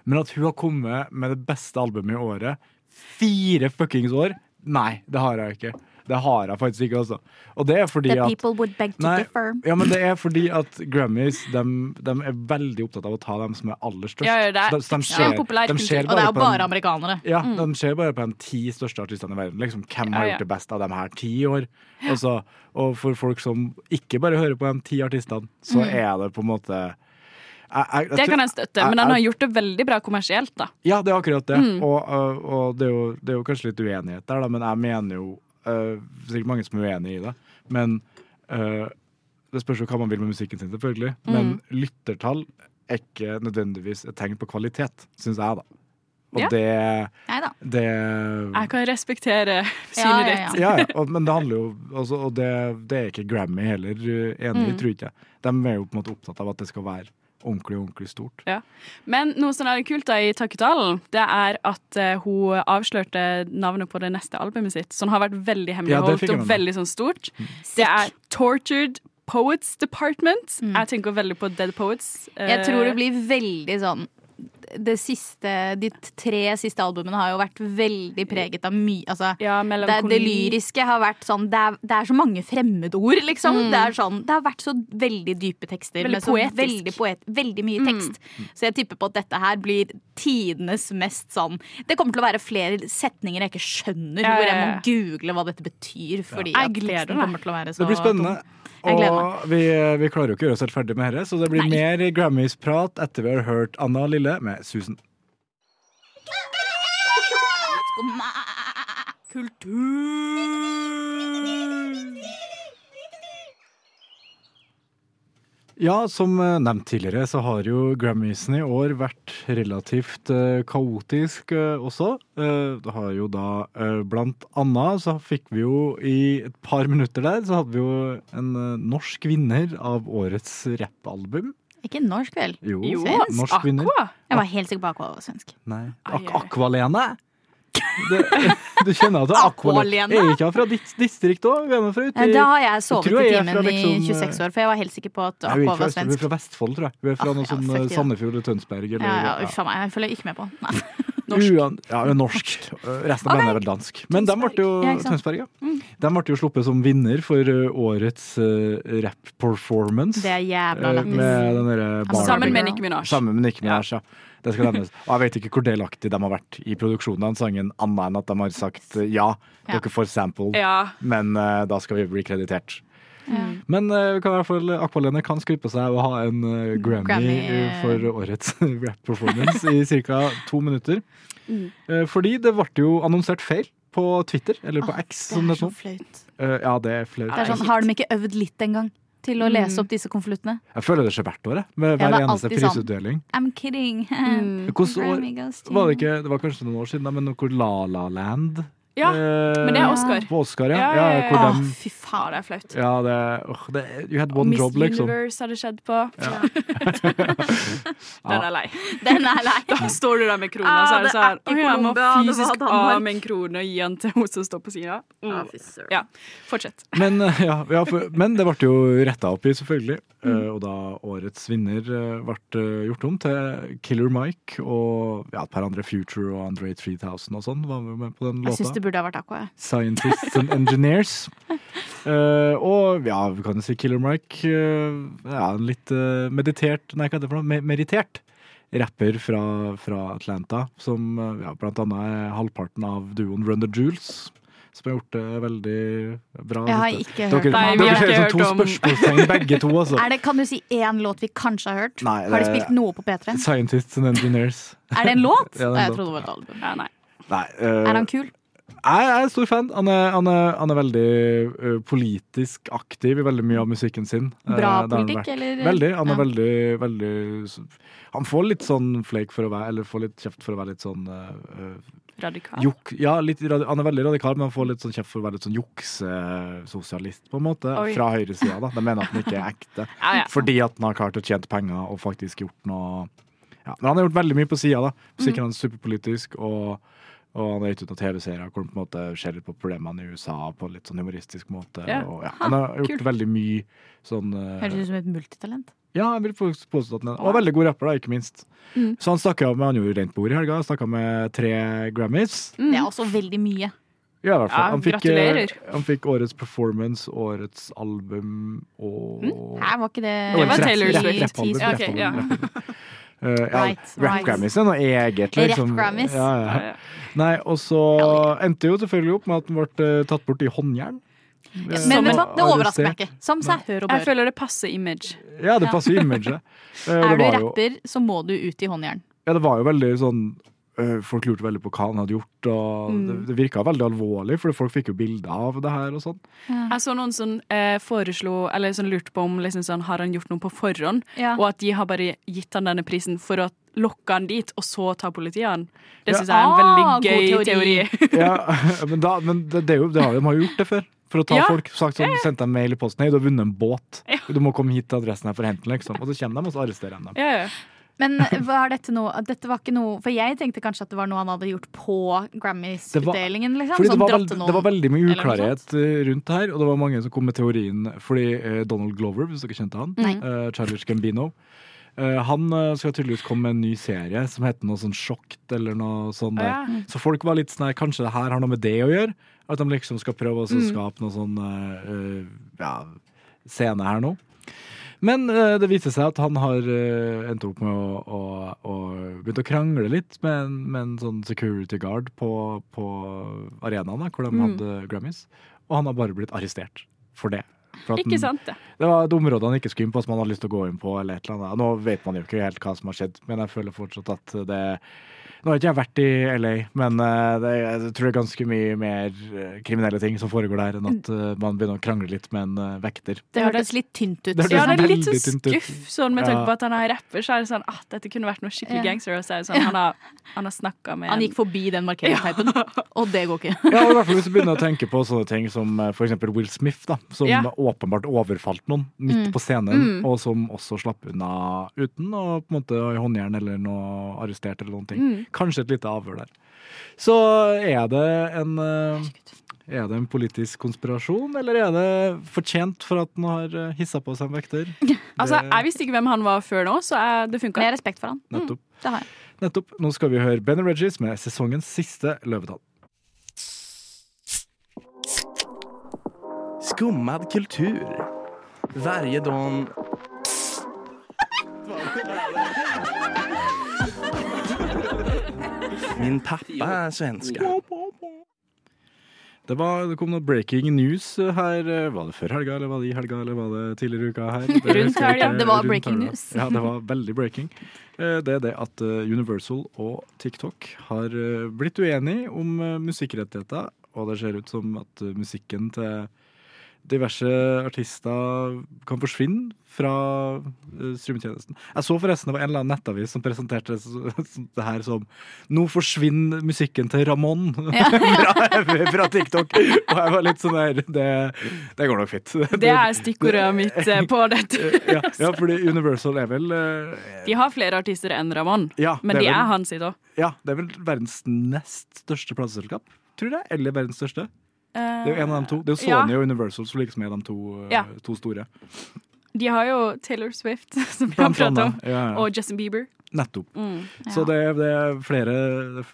[SPEAKER 3] Men at hun har kommet med det beste albumet i året, fire fuckings år, nei, det har jeg ikke. Det har jeg faktisk ikke, altså. Og det er fordi
[SPEAKER 6] The
[SPEAKER 3] at
[SPEAKER 6] people would beg to
[SPEAKER 3] Nei,
[SPEAKER 6] differ.
[SPEAKER 3] ja, men det er fordi at Grammys dem, dem er veldig opptatt av å ta dem som er aller størst.
[SPEAKER 7] Ja, ja, det er
[SPEAKER 3] Så de, så de
[SPEAKER 7] ekstremt
[SPEAKER 3] ser-
[SPEAKER 7] populær
[SPEAKER 3] de
[SPEAKER 7] kultur,
[SPEAKER 3] ser
[SPEAKER 6] Og det er jo
[SPEAKER 3] på den-
[SPEAKER 6] bare amerikanere.
[SPEAKER 3] ja, De ser bare på de ti største artistene i verden. Liksom, hvem har
[SPEAKER 7] Mm. Ja, ja.
[SPEAKER 3] gjort det best av de her ti år? Og, så, og for folk som ikke bare hører på de ti artistene, så er det på en måte jeg- jeg
[SPEAKER 7] Mm. Det
[SPEAKER 3] tror-
[SPEAKER 7] kan jeg støtte, men
[SPEAKER 3] jeg-
[SPEAKER 7] den har gjort det veldig bra kommersielt, da.
[SPEAKER 3] Ja, det er akkurat det.
[SPEAKER 7] Mm.
[SPEAKER 3] Og, øh, og det, er jo, det er jo kanskje litt uenighet der, da, men jeg mener jo øh, Sikkert mange som er uenig i det, men øh, det spørs jo hva man vil med musikken sin, selvfølgelig. Men
[SPEAKER 7] Mm.
[SPEAKER 3] lyttertall er ikke nødvendigvis et tegn på kvalitet, syns jeg, da. Og
[SPEAKER 7] Ja.
[SPEAKER 3] det,
[SPEAKER 6] Nei da.
[SPEAKER 3] det
[SPEAKER 7] Jeg kan respektere [laughs]
[SPEAKER 6] Ja,
[SPEAKER 7] synet
[SPEAKER 6] ja,
[SPEAKER 7] ditt.
[SPEAKER 3] ja, ja, og, men det handler jo også, Og det, det er ikke Grammy heller øh, enig i,
[SPEAKER 7] Mm.
[SPEAKER 3] tror ikke jeg. De er jo på en måte opptatt av at det skal være ordentlig, ordentlig stort.
[SPEAKER 7] Men noe som er kult da i takketalen, det er at eh, hun avslørte navnet på det neste albumet sitt, som har vært veldig
[SPEAKER 3] Ja, det
[SPEAKER 7] hemmeligholdt
[SPEAKER 3] fikk jeg
[SPEAKER 7] og
[SPEAKER 3] med meg. Mm.
[SPEAKER 7] veldig sånn stort. Det er Tortured Poets Department. Jeg tenker veldig på Dead Poets. eh,
[SPEAKER 6] Mm. Jeg tror det blir veldig sånn det siste, De tre siste albumene har jo vært veldig preget av mye altså,
[SPEAKER 7] ja,
[SPEAKER 6] det,
[SPEAKER 7] melankoli.
[SPEAKER 6] det lyriske har vært sånn Det er, det er så mange fremmedord, liksom. Det, er sånn, det har vært så veldig dype tekster.
[SPEAKER 7] Mm. Veldig
[SPEAKER 6] med så
[SPEAKER 7] poetisk. Mm.
[SPEAKER 6] Veldig, poet, veldig mye tekst. Så jeg tipper på at dette her blir tidenes mest sånn Det kommer til å være flere setninger jeg ikke skjønner,
[SPEAKER 7] Ja, ja,
[SPEAKER 6] hvor jeg må
[SPEAKER 7] ja.
[SPEAKER 6] google hva dette betyr. Fordi
[SPEAKER 7] Jeg
[SPEAKER 6] at
[SPEAKER 7] gleder
[SPEAKER 6] teksten
[SPEAKER 7] meg.
[SPEAKER 6] kommer til å være så
[SPEAKER 3] Det blir spennende.
[SPEAKER 6] Jeg gleder
[SPEAKER 3] Og vi, eh, vi klarer jo ikke å gjøre oss helt ferdig med dette, så det blir
[SPEAKER 6] Nei.
[SPEAKER 3] mer Grammys-prat etter vi har hørt Anna Lille med Susan.
[SPEAKER 6] dum.
[SPEAKER 3] Ja, som eh, nevnt tidligere, så har jo Grammysen i år vært relativt eh, kaotisk eh, også. Eh, Det har jo da eh, blant annet så fikk vi jo i et par minutter der, så hadde vi jo en eh, norsk vinner av årets rappalbum.
[SPEAKER 6] Ikke norsk, vel?
[SPEAKER 3] Jo,
[SPEAKER 7] Jo,
[SPEAKER 6] Svensk.
[SPEAKER 3] norsk vinner.
[SPEAKER 7] Aqua.
[SPEAKER 6] Jeg var helt sikker på akkurat svensk.
[SPEAKER 3] Nei.
[SPEAKER 7] Ai,
[SPEAKER 3] Ak
[SPEAKER 7] ai, ai.
[SPEAKER 3] Akvalene? Det, du kjenner at det er Akvalene?
[SPEAKER 6] Akvalene?
[SPEAKER 3] Er ikke han fra ditt distrikt òg? Hun er fra ute
[SPEAKER 6] Nei,
[SPEAKER 3] i
[SPEAKER 6] Eh, Da har jeg sovet
[SPEAKER 3] tror
[SPEAKER 6] i
[SPEAKER 3] jeg er
[SPEAKER 6] timen
[SPEAKER 3] fra liksom,
[SPEAKER 6] i 26 år, for jeg var helt sikker på
[SPEAKER 3] Nei, hun
[SPEAKER 6] at
[SPEAKER 3] er
[SPEAKER 6] Aqua
[SPEAKER 3] ikke
[SPEAKER 6] var
[SPEAKER 3] fra Østfold, hun er
[SPEAKER 6] svensk.
[SPEAKER 3] fra Vestfold, tror jeg. Hun er fra
[SPEAKER 6] Ah,
[SPEAKER 3] noe
[SPEAKER 6] ja,
[SPEAKER 3] sånn
[SPEAKER 6] fuck
[SPEAKER 3] eh,
[SPEAKER 6] yeah.
[SPEAKER 3] Sandefjord eller Tønsberg.
[SPEAKER 6] Ja,
[SPEAKER 3] Eller,
[SPEAKER 6] ja, uff a meg, jeg følger ikke med
[SPEAKER 3] [laughs]
[SPEAKER 6] på den.
[SPEAKER 7] Norsk.
[SPEAKER 3] Uan- ja, hun er norsk. Eh, Resten av
[SPEAKER 6] Å,
[SPEAKER 3] bandet
[SPEAKER 6] nei.
[SPEAKER 3] er vel dansk. Men de ble jo
[SPEAKER 6] Tønsberg. Ja, ikke sant. Mm.
[SPEAKER 3] Tønsberg, ja. De ble jo sluppet som vinner for eh, årets uh, rap-performance.
[SPEAKER 6] Det er jævla
[SPEAKER 3] eh,
[SPEAKER 6] lættis. Altså,
[SPEAKER 3] Med den derre Barbie
[SPEAKER 7] Sammen med
[SPEAKER 3] Girl.
[SPEAKER 7] Nicki Minaj.
[SPEAKER 3] Sammen med Nicki Minaj, ja. Det skal nevnes. Og jeg vet ikke hvor delaktig de har vært i produksjonen av den sangen, annet enn at de har sagt eh, ja,
[SPEAKER 6] Ja.
[SPEAKER 3] dere får sample,
[SPEAKER 7] Ja.
[SPEAKER 3] men eh, da skal vi bli kreditert. Men eh, vi kan i hvert fall Akvalene kan skryte på seg å ha en eh, Grammy,
[SPEAKER 6] Grammy,
[SPEAKER 3] eh,
[SPEAKER 6] eh.
[SPEAKER 3] for årets [laughs] rap-performance i ca. to minutter.
[SPEAKER 6] Mm.
[SPEAKER 3] Eh, fordi det ble jo annonsert feil på Twitter, eller på X, som det
[SPEAKER 6] Sånn,
[SPEAKER 3] heter
[SPEAKER 6] Det er
[SPEAKER 3] nå.
[SPEAKER 6] så flaut.
[SPEAKER 3] Eh, ja, det er flaut.
[SPEAKER 6] Det er sånn, har de ikke øvd litt engang til å lese opp disse konvoluttene?
[SPEAKER 3] Jeg føler det skjer hvert år, jeg, med
[SPEAKER 6] Ja,
[SPEAKER 3] hver
[SPEAKER 6] det er
[SPEAKER 3] eneste
[SPEAKER 6] alltid sånn.
[SPEAKER 3] prisutdeling.
[SPEAKER 6] I'm kidding. [laughs]
[SPEAKER 7] Mm.
[SPEAKER 3] Hvordan år
[SPEAKER 6] Grammy goes to-
[SPEAKER 3] var det ikke? Det var kanskje noen år siden, da, men hvor La La Land
[SPEAKER 7] Ja,
[SPEAKER 3] eh,
[SPEAKER 7] men det er Oscar.
[SPEAKER 3] På Oscar, ja.
[SPEAKER 7] Ja,
[SPEAKER 3] ja,
[SPEAKER 7] ja, ja.
[SPEAKER 3] Hvor
[SPEAKER 6] Å,
[SPEAKER 3] dem,
[SPEAKER 6] fy faen.
[SPEAKER 7] Faen, det er flaut.
[SPEAKER 3] ja det, åh, det, you had one
[SPEAKER 7] Miss
[SPEAKER 3] job, liksom.
[SPEAKER 7] Universe har det skjedd på. [laughs] Den er jeg lei.
[SPEAKER 6] [laughs] Den er lei.
[SPEAKER 7] Da står du der med krona,
[SPEAKER 6] Ah,
[SPEAKER 7] så er
[SPEAKER 6] det
[SPEAKER 7] det sånn
[SPEAKER 6] er ikke
[SPEAKER 7] Å, jeg må
[SPEAKER 6] Colombia, det var
[SPEAKER 7] fysisk
[SPEAKER 6] Danmark.»
[SPEAKER 7] av med en krone og gi den til hun som står på sida. Ja, fortsett.
[SPEAKER 3] Men, eh, ja, ja, for, men det ble jo retta opp i, selvfølgelig. Eh,
[SPEAKER 7] Mm.
[SPEAKER 3] og da årets vinner eh, ble eh, gjort om til Killer Mike og ja, et par andre Future og Andre 3000 og sånn. Var jo med på den
[SPEAKER 6] Jeg syns
[SPEAKER 3] låta.
[SPEAKER 6] det burde ha vært Aqua. jeg.
[SPEAKER 3] Scientists and
[SPEAKER 6] [laughs]
[SPEAKER 3] Engineers. Eh, og ja, vi kan jo si Killer Mike eh, ja, en litt eh, meditert Nei, hva er det for noe? Me meritert rapper fra, fra Atlanta, som eh, ja, blant annet er halvparten av duoen Run the Jewels. Som har gjort det veldig bra.
[SPEAKER 6] Jeg har
[SPEAKER 3] Dette-
[SPEAKER 6] ikke hørt
[SPEAKER 3] dere,
[SPEAKER 7] Nei,
[SPEAKER 6] om
[SPEAKER 7] vi
[SPEAKER 3] dere
[SPEAKER 7] har
[SPEAKER 6] det.
[SPEAKER 7] ikke
[SPEAKER 3] ser ut som to
[SPEAKER 7] hørt om-
[SPEAKER 3] spørsmålstegn, begge to. Altså.
[SPEAKER 6] [laughs] Er det, kan du si én låt vi kanskje har hørt?
[SPEAKER 3] Nei,
[SPEAKER 6] Har de
[SPEAKER 3] det-
[SPEAKER 6] spilt noe på
[SPEAKER 3] [laughs]
[SPEAKER 6] P3?
[SPEAKER 3] Scientists and engineers.
[SPEAKER 6] Er det en låt?
[SPEAKER 3] Ja, det er en
[SPEAKER 6] Nei,
[SPEAKER 3] låt.
[SPEAKER 6] jeg trodde det var et album.
[SPEAKER 7] Ja, nei.
[SPEAKER 3] Nei, eh,
[SPEAKER 6] Er han kul?
[SPEAKER 3] jeg jeg er stor fan. Han er, han er, han er veldig eh, politisk aktiv i veldig mye av musikken sin. Eh,
[SPEAKER 6] Bra
[SPEAKER 3] det har han
[SPEAKER 6] politikk,
[SPEAKER 3] vært.
[SPEAKER 6] eller?
[SPEAKER 3] Veldig. Han er
[SPEAKER 6] Ja.
[SPEAKER 3] veldig, veldig Han får litt sånn flake for å være Eller får litt kjeft for å være litt sånn eh, eh,
[SPEAKER 7] Radikal.
[SPEAKER 3] Juk, ja, litt, radi- han er veldig radikal, men han får litt sånn kjeft for å være litt sånn juksesosialist, på en måte.
[SPEAKER 7] Oi.
[SPEAKER 3] Fra høyresida, da. De mener at han ikke er ekte.
[SPEAKER 7] [laughs] Ja, ja.
[SPEAKER 3] Fordi at han har klart å tjene penger og faktisk gjort noe ja, Men han har gjort veldig mye på sida, da.
[SPEAKER 7] Mm.
[SPEAKER 3] Musikken hans er superpolitisk, og, og han har gitt ut noen TV-serier hvor han på en måte ser litt på problemene i USA på litt sånn humoristisk måte.
[SPEAKER 7] Ja.
[SPEAKER 3] Og, ja. Han har gjort veldig mye sånn eh,
[SPEAKER 6] Høres ut som et multitalent.
[SPEAKER 3] ja, jeg vil faktisk påstå at den Og veldig god rapper, da, ikke minst.
[SPEAKER 7] Mm.
[SPEAKER 3] Så han snakka med han gjorde rent bord i helga. Snakka med tre Grammys.
[SPEAKER 6] Det er også veldig mye.
[SPEAKER 3] Ja, i hvert fall.
[SPEAKER 7] Ja,
[SPEAKER 3] han, fikk, eh,
[SPEAKER 7] gratulerer.
[SPEAKER 3] han fikk årets performance, årets album og
[SPEAKER 6] Her var ikke det
[SPEAKER 7] Det var
[SPEAKER 3] Årets
[SPEAKER 7] Taylor
[SPEAKER 3] rapp-
[SPEAKER 7] Swift.
[SPEAKER 3] rapp- rappalbum,
[SPEAKER 7] Ja, ok,
[SPEAKER 3] rappalbum,
[SPEAKER 7] ja.
[SPEAKER 6] [laughs]
[SPEAKER 3] rappalbum. Eh, ja,
[SPEAKER 6] Right, right.
[SPEAKER 3] Rap-Grammys er noe eget, liksom.
[SPEAKER 6] Rap-Grammys.
[SPEAKER 3] Ja, ja. Nei, og så endte jo selvfølgelig opp med at den ble eh, tatt bort i håndjern.
[SPEAKER 6] Men vet du hva, det overrasker meg ikke. Samsa, hør og
[SPEAKER 7] Jeg
[SPEAKER 6] bør.
[SPEAKER 7] føler det passer image.
[SPEAKER 3] Ja, det
[SPEAKER 6] Ja.
[SPEAKER 3] passer imaget. Eh, det
[SPEAKER 6] Er du
[SPEAKER 3] var jo-
[SPEAKER 6] rapper, så må du ut i håndjern.
[SPEAKER 3] Ja, det var jo veldig sånn øh, Folk lurte veldig på hva han hadde gjort, og det, det virka veldig alvorlig, for folk fikk jo bilder av det her og sånn.
[SPEAKER 7] Jeg så noen som eh, foreslo, eller som lurte på om liksom sånn, har han gjort noe på forhånd,
[SPEAKER 6] Ja.
[SPEAKER 7] og at de har bare gitt han denne prisen for å lokke han dit, og så ta politiet han.
[SPEAKER 3] Ja.
[SPEAKER 7] Det synes jeg er en
[SPEAKER 6] Ah,
[SPEAKER 7] veldig
[SPEAKER 6] god
[SPEAKER 7] gøy teori.
[SPEAKER 6] teori.
[SPEAKER 3] Ja, [laughs] men da, men det, det er jo, det har, de har jo gjort det før. For å ta
[SPEAKER 7] Ja.
[SPEAKER 3] folk sagt sånn, sendt dem mail i posten Hei, du har vunnet en båt. Du må komme hit til adressen her for å hente den, liksom. Og så kommer de, og så arresterer de dem.
[SPEAKER 7] Ja, ja.
[SPEAKER 6] Men var dette noe at Dette var ikke noe For jeg tenkte kanskje at det var noe han hadde gjort på
[SPEAKER 3] Det var-
[SPEAKER 6] Grammys-utdelingen, liksom.
[SPEAKER 3] Fordi det
[SPEAKER 6] Sånn
[SPEAKER 3] var,
[SPEAKER 6] dratt
[SPEAKER 3] veld,
[SPEAKER 6] til
[SPEAKER 3] det var
[SPEAKER 6] noen.
[SPEAKER 3] veldig mye
[SPEAKER 6] eller noe
[SPEAKER 3] uklarhet eh, rundt det her, og det var mange som kom med teorien fordi eh, Donald Glover, hvis dere kjente han, eh, Charles Gambino, eh, han eh, skal tydeligvis komme med en ny serie som heter noe sånn Sjokkt eller noe sånt. Der. Så folk var litt sånn her, kanskje det her har noe med det å gjøre? At de liksom skal prøve å
[SPEAKER 6] Mm.
[SPEAKER 3] så skape noe sånn eh, eh, ja, scene her nå. Men eh, det viste seg at han har eh, endt opp med å, å, å begynt å krangle litt med en, med en sånn security guard på, på arenaen da,
[SPEAKER 7] Mm.
[SPEAKER 3] hvor de hadde Grammys. Og han har bare blitt arrestert for det. For at
[SPEAKER 7] Ikke
[SPEAKER 3] han-
[SPEAKER 7] sant, det.
[SPEAKER 3] Det var et område han ikke skulle inn på som han hadde lyst til å gå inn på. eller et eller annet. Nå vet man jo ikke helt hva som har skjedd, men jeg føler fortsatt at det Nå har ikke jeg vært i LA, men eh, det, jeg tror det er ganske mye mer eh, kriminelle ting som foregår der, enn at
[SPEAKER 7] Mm.
[SPEAKER 3] eh, man begynner å krangle litt med en eh, vekter.
[SPEAKER 6] Det hørtes litt tynt ut.
[SPEAKER 3] Det
[SPEAKER 7] Ja, det er litt
[SPEAKER 3] veldig
[SPEAKER 7] sånn
[SPEAKER 3] tynt ut.
[SPEAKER 7] skuff, sånn med tanke
[SPEAKER 3] Ja.
[SPEAKER 7] på at han er rapper, så er det sånn at dette kunne vært noe skikkelig
[SPEAKER 6] Ja.
[SPEAKER 7] gangster, og så er det sånn, han har, han har snakket med
[SPEAKER 6] Han
[SPEAKER 7] en-
[SPEAKER 6] gikk forbi den markeringsteipen, og det går ikke.
[SPEAKER 3] Ja, og i hvert fall hvis du begynner å tenke på sånne ting som eh, for eksempel Will Smith, da, som
[SPEAKER 7] Ja.
[SPEAKER 3] åpenbart overfalt noen
[SPEAKER 6] Mm.
[SPEAKER 3] midt på scenen, og som også slapp unna uten å på en måte ha i håndjern eller noe arrestert eller noen ting.
[SPEAKER 6] Mm.
[SPEAKER 3] Kanskje et lite avhør der. Så er det en eh, er det en politisk konspirasjon, eller er det fortjent for at den har hissa på seg en vekter?
[SPEAKER 6] [laughs]
[SPEAKER 7] Altså, jeg visste ikke hvem han var før nå, så jeg, det
[SPEAKER 6] Men jeg
[SPEAKER 7] funket.
[SPEAKER 6] har respekt for han. Mm,
[SPEAKER 3] Nettopp.
[SPEAKER 6] det har jeg.
[SPEAKER 3] Nettopp. Nå skal vi høre Ben Regis med sesongens siste løvetann.
[SPEAKER 8] Skummad kultur. Varje dag... Min pappa är svenska.
[SPEAKER 3] Det, var, det kom noe breaking news her. eh, Var det før helga, eller var det i helga, eller var det tidligere i uka
[SPEAKER 6] [laughs]
[SPEAKER 3] her? Det husker jeg
[SPEAKER 7] Rundt helga.
[SPEAKER 3] ikke.
[SPEAKER 6] Det var
[SPEAKER 3] Rundt
[SPEAKER 6] breaking
[SPEAKER 3] helga.
[SPEAKER 6] news.
[SPEAKER 3] Ja, det var veldig breaking. Eh, Det er det at eh, Universal og TikTok har eh, blitt uenige om eh, musikkrettigheter, og det ser ut som at eh, musikken til diverse artister kan forsvinne fra eh, strømmetjenesten. Jeg så forresten det var en eller annen nettavis som [laughs] presenterte det, s- s- det her som Nå forsvinner musikken til Ramón [laughs] fra, fra TikTok! Og jeg var litt sånn der Det, det går nok fint.
[SPEAKER 7] Det er stikkordet mitt eh, på dette.
[SPEAKER 3] [laughs] ja, ja, fordi Universal er vel eh,
[SPEAKER 7] [laughs] De har flere artister enn Ramon,
[SPEAKER 3] ja,
[SPEAKER 7] men
[SPEAKER 3] det
[SPEAKER 7] de
[SPEAKER 3] vel-
[SPEAKER 7] er han sitt også.
[SPEAKER 3] Ja, det er vel verdens nest største plateselskap, tror jeg. Eller verdens største. Det er jo en av de to. Det er jo
[SPEAKER 7] Ja.
[SPEAKER 3] Sony og Universal som liksom er de to, eh,
[SPEAKER 7] Ja.
[SPEAKER 3] to
[SPEAKER 7] [laughs]
[SPEAKER 3] store.
[SPEAKER 7] Eh, De har jo Taylor Swift, [laughs] som vi har
[SPEAKER 3] Blant
[SPEAKER 7] pratet om,
[SPEAKER 3] annet. Ja, ja.
[SPEAKER 7] og Justin Bieber.
[SPEAKER 3] Nettopp.
[SPEAKER 6] Mm,
[SPEAKER 3] Så det, er- det er flere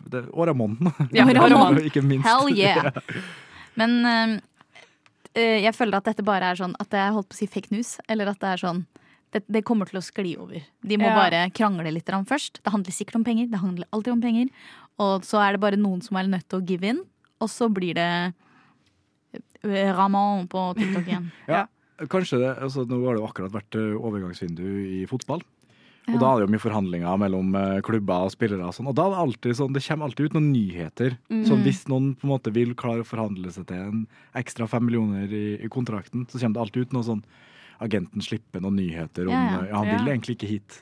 [SPEAKER 3] det, er- Og Ramón.
[SPEAKER 7] Ja,
[SPEAKER 6] Og
[SPEAKER 3] [laughs]
[SPEAKER 6] Ramon.
[SPEAKER 3] Ikke minst.
[SPEAKER 6] [laughs] Hell yeah! Men øhm, øh, jeg føler at dette bare er sånn at jeg holdt på å si fake news. Eller at det er sånn det, det kommer til å skli over. De må
[SPEAKER 7] Ja.
[SPEAKER 6] bare krangle litt grann først. Det handler sikkert om penger. Det handler alltid om penger. Og så er det bare noen som er nødt til å give in. Og så blir det øh, Ramon på TikTok igjen.
[SPEAKER 3] [laughs] Ja. Kanskje det, altså Nå har det jo akkurat vært eh, overgangsvindu i fotball. Og da er det jo mye forhandlinger mellom eh, klubber og spillere. Og sånn. Og da er det alltid sånn, det kommer alltid ut noen nyheter.
[SPEAKER 6] Mm.
[SPEAKER 3] Så hvis noen på en måte vil klare å forhandle seg til en ekstra fem millioner i, i kontrakten, så kommer det alltid ut noe sånn Agenten slipper noen nyheter om
[SPEAKER 6] Ja, ja.
[SPEAKER 3] eh, ja, Han vil
[SPEAKER 7] Ja.
[SPEAKER 3] egentlig ikke hit,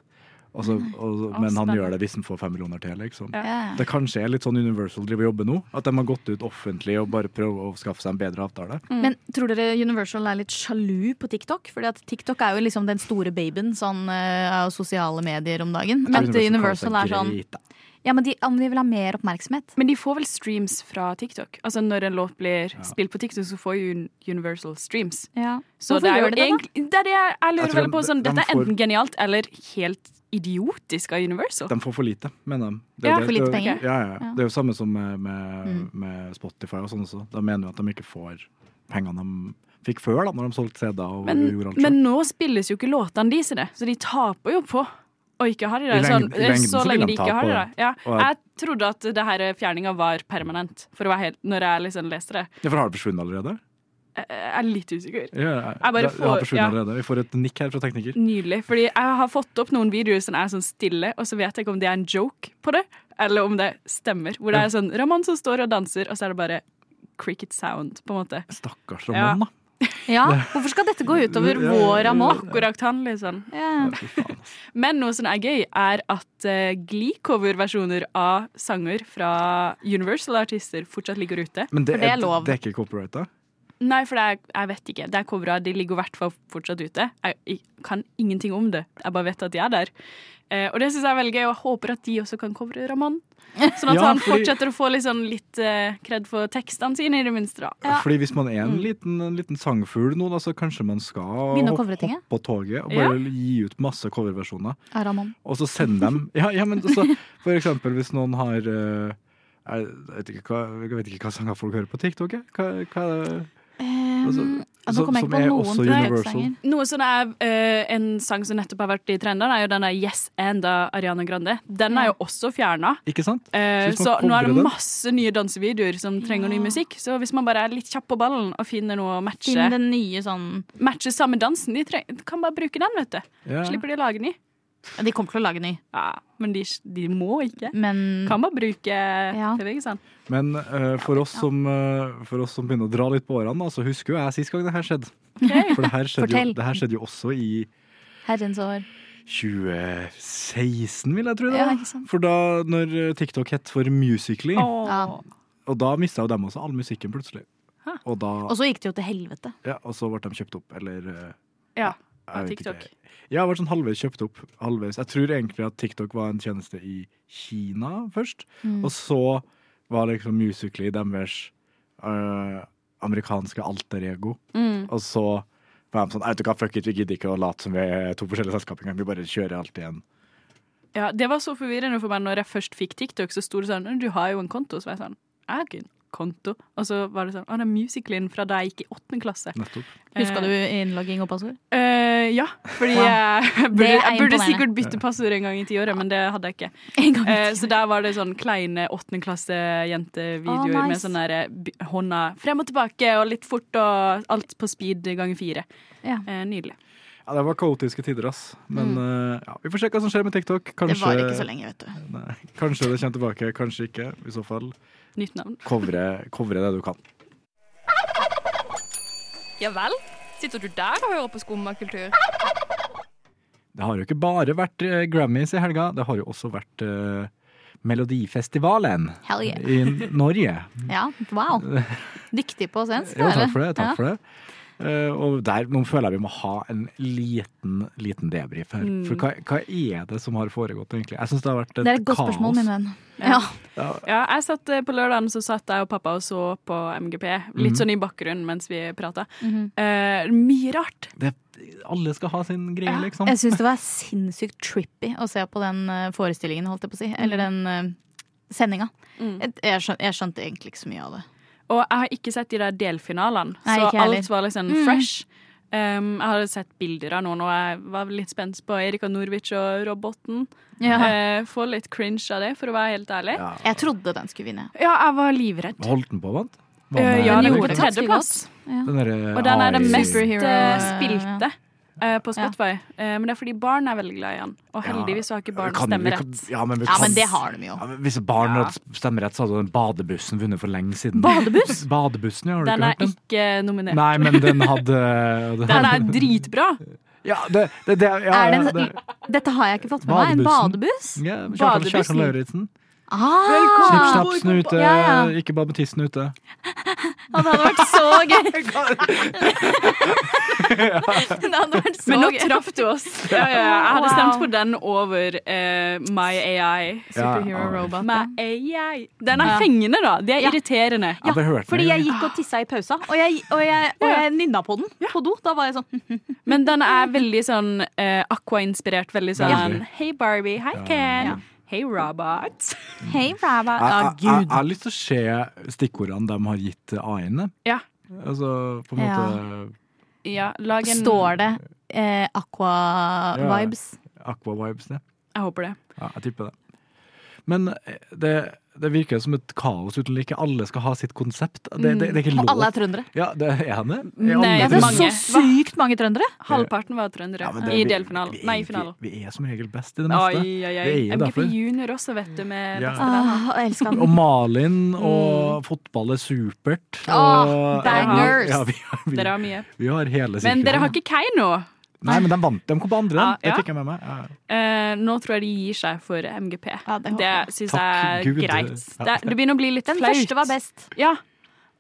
[SPEAKER 3] og så, og, men han
[SPEAKER 7] spennende.
[SPEAKER 3] gjør det hvis han får fem millioner til. liksom.
[SPEAKER 6] [laughs] Ja.
[SPEAKER 3] Det kanskje er litt sånn Universal driver og jobber nå. At de har gått ut offentlig og bare prøver å skaffe seg en bedre avtale.
[SPEAKER 6] Men tror dere Universal er litt sjalu på TikTok? Fordi at TikTok er jo liksom den store babyen sånn, øh, av sosiale medier om dagen.
[SPEAKER 3] Jeg
[SPEAKER 6] At
[SPEAKER 3] tror
[SPEAKER 6] Universal
[SPEAKER 3] kaller
[SPEAKER 6] er
[SPEAKER 3] seg
[SPEAKER 6] sånn
[SPEAKER 3] greit, da.
[SPEAKER 6] Ja, men de, om de vil ha mer oppmerksomhet.
[SPEAKER 7] Men de får vel streams fra TikTok? Altså Når en låt blir spilt på TikTok, så får jo Un- Universal streams. Så
[SPEAKER 6] Hvorfor
[SPEAKER 7] det er jo
[SPEAKER 6] gjør de det, da?
[SPEAKER 7] egentlig det er det jeg, jeg
[SPEAKER 3] Jeg
[SPEAKER 7] lurer
[SPEAKER 3] tror
[SPEAKER 7] veldig på. Sånn,
[SPEAKER 3] de- de
[SPEAKER 7] dette er
[SPEAKER 3] får-
[SPEAKER 7] enten genialt eller helt idiotisk av Universal.
[SPEAKER 3] De får for lite, mener de. Det, er
[SPEAKER 7] Ja,
[SPEAKER 3] det-
[SPEAKER 6] for lite
[SPEAKER 3] det, er-
[SPEAKER 6] penger.
[SPEAKER 3] Ja, ja. ja. Det er jo samme som med,
[SPEAKER 7] Mm.
[SPEAKER 3] med, med Spotify og sånn også. De mener jo at de ikke får pengene de fikk før, da, når de solgte CD-er og
[SPEAKER 7] Men,
[SPEAKER 3] gjorde alt
[SPEAKER 7] men nå spilles jo ikke låtene deres i det, så de taper jo på å ikke ha de
[SPEAKER 3] I
[SPEAKER 7] der. Sånn,
[SPEAKER 3] lengden- i lengden så
[SPEAKER 7] så
[SPEAKER 3] vil de
[SPEAKER 7] lenge de ikke
[SPEAKER 3] tape
[SPEAKER 7] har de
[SPEAKER 3] på
[SPEAKER 7] der. Ja.
[SPEAKER 3] Og
[SPEAKER 7] Jeg trodde at det her fjerninga var permanent, for å være helt, når jeg liksom leste det.
[SPEAKER 3] Ja, for har det forsvunnet allerede?
[SPEAKER 7] Jeg er litt usikker.
[SPEAKER 3] Ja, ja.
[SPEAKER 7] Jeg bare
[SPEAKER 3] Det- det har
[SPEAKER 7] får-
[SPEAKER 3] forsvunnet
[SPEAKER 7] ja.
[SPEAKER 3] allerede. Vi får et nikk her fra tekniker.
[SPEAKER 7] Nydelig. Fordi jeg har fått opp noen videoer som er sånn stille, og så vet jeg ikke om det er en joke på det, eller om det stemmer. Hvor det
[SPEAKER 3] Ja.
[SPEAKER 7] er sånn Ramón som står og danser, og så er det bare cricket sound, på en måte.
[SPEAKER 3] Stakkars
[SPEAKER 7] Ja.
[SPEAKER 3] Ramón, da.
[SPEAKER 6] Ja, hvorfor skal dette gå utover vår Ramón?
[SPEAKER 7] Akkurat han, liksom.
[SPEAKER 6] Ja.
[SPEAKER 7] Men noe som er gøy, er at uh, Glee-coverversjoner av sanger fra Universal-artister fortsatt ligger ute.
[SPEAKER 3] Men det,
[SPEAKER 7] for det er
[SPEAKER 3] er,
[SPEAKER 7] lov.
[SPEAKER 3] det er ikke copyrighta?
[SPEAKER 7] Nei, for det er, jeg vet ikke. Det er covera. De ligger i hvert fall fortsatt ute. Jeg, jeg kan ingenting om det. Jeg bare vet at de er der. Eh, og det syns jeg er veldig gøy, og jeg håper at de også kan covre Raman. Sånn
[SPEAKER 3] [laughs]
[SPEAKER 7] at
[SPEAKER 3] Ja,
[SPEAKER 7] han
[SPEAKER 3] fordi-
[SPEAKER 7] fortsetter å få litt sånn litt eh, kred for tekstene sine, i det minste. da.
[SPEAKER 3] Fordi hvis man er en liten, en liten sangfugl nå, da, så kanskje man skal
[SPEAKER 6] Mm. Begynne å
[SPEAKER 3] hoppe,
[SPEAKER 6] covre ting, ja.
[SPEAKER 3] hoppe på toget og bare gi ut masse coverversjoner.
[SPEAKER 6] Ja, Ramón.
[SPEAKER 3] Og så sende
[SPEAKER 6] [laughs]
[SPEAKER 3] dem ja, ja, men så, For eksempel hvis noen har eh, jeg vet, ikke hva, jeg vet ikke hva sanger folk hører på TikTok. jeg. Hva, hva, altså,
[SPEAKER 6] Mm, ja, nå
[SPEAKER 3] som-
[SPEAKER 6] kommer jeg
[SPEAKER 3] som
[SPEAKER 6] ikke på
[SPEAKER 3] er
[SPEAKER 6] noen
[SPEAKER 3] også
[SPEAKER 6] Drake-sanger.
[SPEAKER 3] Universal.
[SPEAKER 7] Noe som er eh, en sang som nettopp har vært i trendene, er jo den der Yes And av Ariana Grande. Den er jo også fjerna.
[SPEAKER 3] Ikke sant? Så
[SPEAKER 7] Eh,
[SPEAKER 3] hvis man
[SPEAKER 7] så nå er
[SPEAKER 3] covrer
[SPEAKER 7] det
[SPEAKER 3] den-
[SPEAKER 7] masse nye dansevideoer som trenger ny musikk. Så hvis man bare er litt kjapp på ballen og finner noe å matche
[SPEAKER 6] Finn den nye sånn
[SPEAKER 7] matcher samme dansen. De treng, kan bare bruke den, vet du.
[SPEAKER 3] Ja.
[SPEAKER 7] Slipper de å lage ny.
[SPEAKER 6] Ja, De kommer til å lage ny,
[SPEAKER 7] Ja, men de, de må ikke.
[SPEAKER 6] men
[SPEAKER 7] Kan bare bruke TV-genseren.
[SPEAKER 3] Men eh, for, oss som, eh, for oss som begynner å dra litt på årene, da, så husker jo jeg sist gang det her skjedde. For det her skjedde, jo,
[SPEAKER 6] Fortell.
[SPEAKER 3] det her skjedde jo også i
[SPEAKER 6] herrens år.
[SPEAKER 3] 2016, vil jeg tro. det
[SPEAKER 6] Ja,
[SPEAKER 3] var.
[SPEAKER 6] ikke sant.
[SPEAKER 3] For da når eh, TikTok het for Musically,
[SPEAKER 6] Ja.
[SPEAKER 3] og da mista jo dem også all musikken plutselig.
[SPEAKER 7] Hæ.
[SPEAKER 3] Og, da,
[SPEAKER 6] Og så gikk det jo til helvete.
[SPEAKER 3] ja, og så ble de kjøpt opp, eller eh,
[SPEAKER 7] Ja,
[SPEAKER 3] jeg
[SPEAKER 7] av
[SPEAKER 3] vet
[SPEAKER 7] TikTok.
[SPEAKER 3] ikke. Ja, ble sånn halvveis kjøpt opp. Halvveis. Jeg tror egentlig at TikTok var en tjeneste i Kina først, og så var liksom Musically deres eh, amerikanske alter ego. Og så var de sånn, vet du hva, fuck it, vi gidder ikke å late som vi er to forskjellige selskap engang, vi bare kjører alt igjen.
[SPEAKER 7] Ja, det var så forvirrende for meg når jeg først fikk TikTok, så sto det sånn Du har jo en konto. Så var jeg sånn Jeg har ikke en konto. Og så var det sånn Å, det er musicalen fra da jeg gikk i åttende klasse.
[SPEAKER 3] Nettopp.
[SPEAKER 6] Huska du innlogging og passord?
[SPEAKER 7] Eh, ja, fordi jeg, jeg burde,
[SPEAKER 6] Det er
[SPEAKER 7] jeg burde
[SPEAKER 6] imponerende.
[SPEAKER 7] sikkert bytte passord en gang i tiåret, men det hadde jeg ikke.
[SPEAKER 6] En gang i
[SPEAKER 7] Eh,
[SPEAKER 6] tiåret.
[SPEAKER 7] så der var det sånn kleine åttendeklasse-jentevideoer
[SPEAKER 6] Å, nice.
[SPEAKER 7] med sånn der eh, b- hånda frem og tilbake og litt fort og alt på speed ganger fire.
[SPEAKER 6] Ja.
[SPEAKER 7] Eh, nydelig.
[SPEAKER 3] Ja, det var kaotiske tider, ass. Men eh, ja, vi får se hva som skjer med TikTok. Kanskje,
[SPEAKER 6] Mm. Det var ikke så lenge, vet du.
[SPEAKER 3] Nei, kanskje det kommer tilbake, kanskje ikke. I så fall,
[SPEAKER 7] Nytt navn.
[SPEAKER 3] covre, covre det du kan.
[SPEAKER 9] Ja vel? Sitter du der og hører på skummakultur?
[SPEAKER 3] Det har jo ikke bare vært eh, Grammys i helga, det har jo også vært eh, Melodifestivalen
[SPEAKER 6] Hell yeah.
[SPEAKER 3] i N-
[SPEAKER 6] [laughs]
[SPEAKER 3] Norge.
[SPEAKER 6] Ja,
[SPEAKER 3] [laughs]
[SPEAKER 6] wow. Dyktig på svensk,
[SPEAKER 3] Ja, takk for det.
[SPEAKER 6] eller?
[SPEAKER 3] Takk
[SPEAKER 6] Ja.
[SPEAKER 3] for det. Eh, og der, nå føler jeg vi må ha en liten, liten debrief her. For hva, hva er det som har foregått, egentlig? Jeg syns det har vært et,
[SPEAKER 6] Mm. Det er et godt
[SPEAKER 3] kaos.
[SPEAKER 6] spørsmål, min venn. Ja.
[SPEAKER 7] Ja, jeg satt eh, på lørdagen så satt jeg og pappa og så på MGP, litt sånn i bakgrunnen mens vi prata.
[SPEAKER 6] Mhm.
[SPEAKER 7] eh, mye rart.
[SPEAKER 3] Det, alle skal ha sin greie, liksom.
[SPEAKER 6] Jeg syns det var sinnssykt trippy å se på den eh, forestillingen, holdt jeg på å si. Eller den eh, sendinga. Jeg, jeg skjøn- jeg skjønte egentlig ikke så mye av det.
[SPEAKER 7] Og jeg har ikke sett de der delfinalene,
[SPEAKER 6] Nei,
[SPEAKER 7] så
[SPEAKER 6] ikke heller. Mhm.
[SPEAKER 7] alt var liksom fresh. Um, jeg hadde sett bilder av noen, og jeg var litt spent på Erika Norwich og roboten. Eh, få litt cringe av det, for å være helt ærlig. Ja,
[SPEAKER 6] Jeg trodde den skulle vinne.
[SPEAKER 7] jeg var livredd.
[SPEAKER 3] Holdt den på, vant? Hva
[SPEAKER 7] Eh,
[SPEAKER 3] med-
[SPEAKER 7] ja, den
[SPEAKER 6] gjorde
[SPEAKER 7] gjorde
[SPEAKER 6] det ganske
[SPEAKER 7] tredjeplass.
[SPEAKER 3] Den derre ah,
[SPEAKER 7] Og den er den
[SPEAKER 3] AI
[SPEAKER 7] mest eh,
[SPEAKER 6] Superhero,
[SPEAKER 7] spilte eh, på Spotify. Eh, men det er fordi barn er veldig glad i han. Og heldigvis så har ikke barn
[SPEAKER 3] Kan- vi kan-
[SPEAKER 7] stemmerett.
[SPEAKER 3] Ja, men, vi
[SPEAKER 6] Ja,
[SPEAKER 3] kan-
[SPEAKER 6] men det har de jo.
[SPEAKER 3] Ja, men hvis barn hadde stemmerett, så hadde den badebussen vunnet for lenge siden.
[SPEAKER 6] Badebuss?
[SPEAKER 3] [laughs] Badebussen, ja. Har du
[SPEAKER 7] Den
[SPEAKER 3] ikke hørt
[SPEAKER 7] er
[SPEAKER 3] den?
[SPEAKER 7] ikke nominert.
[SPEAKER 3] Nei, men den hadde
[SPEAKER 6] [laughs]
[SPEAKER 3] den
[SPEAKER 7] Den
[SPEAKER 3] hadde-
[SPEAKER 7] er dritbra!
[SPEAKER 3] Ja, det, det, det, ja,
[SPEAKER 6] Er det
[SPEAKER 3] ja,
[SPEAKER 6] en, sånn
[SPEAKER 3] det.
[SPEAKER 6] dette har jeg ikke fått med meg. En badebuss?
[SPEAKER 3] Ja, Kjartan, Kjartan
[SPEAKER 7] Badebussen.
[SPEAKER 3] Lauritzen. Snipp,
[SPEAKER 6] Ah,
[SPEAKER 3] snapp, snute.
[SPEAKER 6] Ja, ja.
[SPEAKER 3] Ikke badebussen ute.
[SPEAKER 6] det hadde vært så
[SPEAKER 3] [laughs]
[SPEAKER 6] gøy! [laughs] Det hadde vært
[SPEAKER 7] [laughs]
[SPEAKER 6] så
[SPEAKER 7] Men nå
[SPEAKER 6] gøy.
[SPEAKER 7] traff du oss. [laughs] Ja, ja, ja. jeg hadde
[SPEAKER 6] Wow.
[SPEAKER 7] stemt på den over eh, My AI.
[SPEAKER 6] Superhero
[SPEAKER 3] Ja, ja.
[SPEAKER 6] robot.
[SPEAKER 7] My AI. Den er fengende, da. Det er irriterende.
[SPEAKER 3] Jeg bare hørte den,
[SPEAKER 6] Fordi
[SPEAKER 3] ja.
[SPEAKER 6] jeg gikk og tissa i pausa, og jeg, og jeg, og jeg nynna på den på do. Da var jeg sånn
[SPEAKER 7] Men den er veldig sånn eh, Aqua-inspirert. Veldig sånn
[SPEAKER 3] Veldig.
[SPEAKER 7] Hei, Barbie. Hei, Ken. Hei, robot.
[SPEAKER 6] Hei, Rabba.
[SPEAKER 3] Jeg,
[SPEAKER 6] Ja,
[SPEAKER 3] jeg, jeg, jeg
[SPEAKER 6] gud.
[SPEAKER 3] har lyst til å se stikkordene de har gitt AI-ene.
[SPEAKER 7] Ja.
[SPEAKER 3] Altså, på en måte
[SPEAKER 7] ja lag en
[SPEAKER 6] Står det eh, aqua-vibes?
[SPEAKER 3] Aqua-vibes, ja.
[SPEAKER 7] Jeg håper det.
[SPEAKER 3] ja. Jeg tipper det. Men eh, det, det virker som et kaos uten like. Alle skal ha sitt konsept. Det, det, det er ikke
[SPEAKER 6] Og
[SPEAKER 3] lov.
[SPEAKER 6] Mm. alle er trøndere.
[SPEAKER 3] Ja, det er henne.
[SPEAKER 7] Nei,
[SPEAKER 6] Ja,
[SPEAKER 7] Ja,
[SPEAKER 6] det er
[SPEAKER 7] mange.
[SPEAKER 6] så sykt mange trøndere!
[SPEAKER 7] Halvparten var trøndere i delfinalen. Nei, i finalen.
[SPEAKER 3] Vi, vi er som regel best i det
[SPEAKER 7] Oi,
[SPEAKER 3] meste.
[SPEAKER 7] oi, oi.
[SPEAKER 3] Det er jo
[SPEAKER 7] MGP
[SPEAKER 3] derfor.
[SPEAKER 7] junior også, vet du, med
[SPEAKER 3] Ja.
[SPEAKER 7] bestevenn.
[SPEAKER 6] Ah, jeg elsker
[SPEAKER 3] Og
[SPEAKER 6] han.
[SPEAKER 3] Malin og fotball er supert.
[SPEAKER 6] Ah,
[SPEAKER 3] og-
[SPEAKER 6] Mm. bangers.
[SPEAKER 3] Ja, vi, vi,
[SPEAKER 7] Dere har mye.
[SPEAKER 3] vi har hele
[SPEAKER 7] Men dere har
[SPEAKER 3] sirkelen.
[SPEAKER 7] ikke Kei nå.
[SPEAKER 3] Nei, men de vant. De kom på andre.
[SPEAKER 7] Ja,
[SPEAKER 3] Det
[SPEAKER 7] ja.
[SPEAKER 3] fikk jeg med meg. Ja.
[SPEAKER 7] Eh, nå tror jeg de gir seg for MGP.
[SPEAKER 6] Ja, det håper
[SPEAKER 7] det
[SPEAKER 6] jeg.
[SPEAKER 7] syns
[SPEAKER 3] Takk
[SPEAKER 7] jeg er
[SPEAKER 3] Gud.
[SPEAKER 7] greit.
[SPEAKER 3] Ja.
[SPEAKER 7] Det, det begynner å bli litt
[SPEAKER 6] Den
[SPEAKER 7] flaut.
[SPEAKER 6] første var best.
[SPEAKER 7] Ja.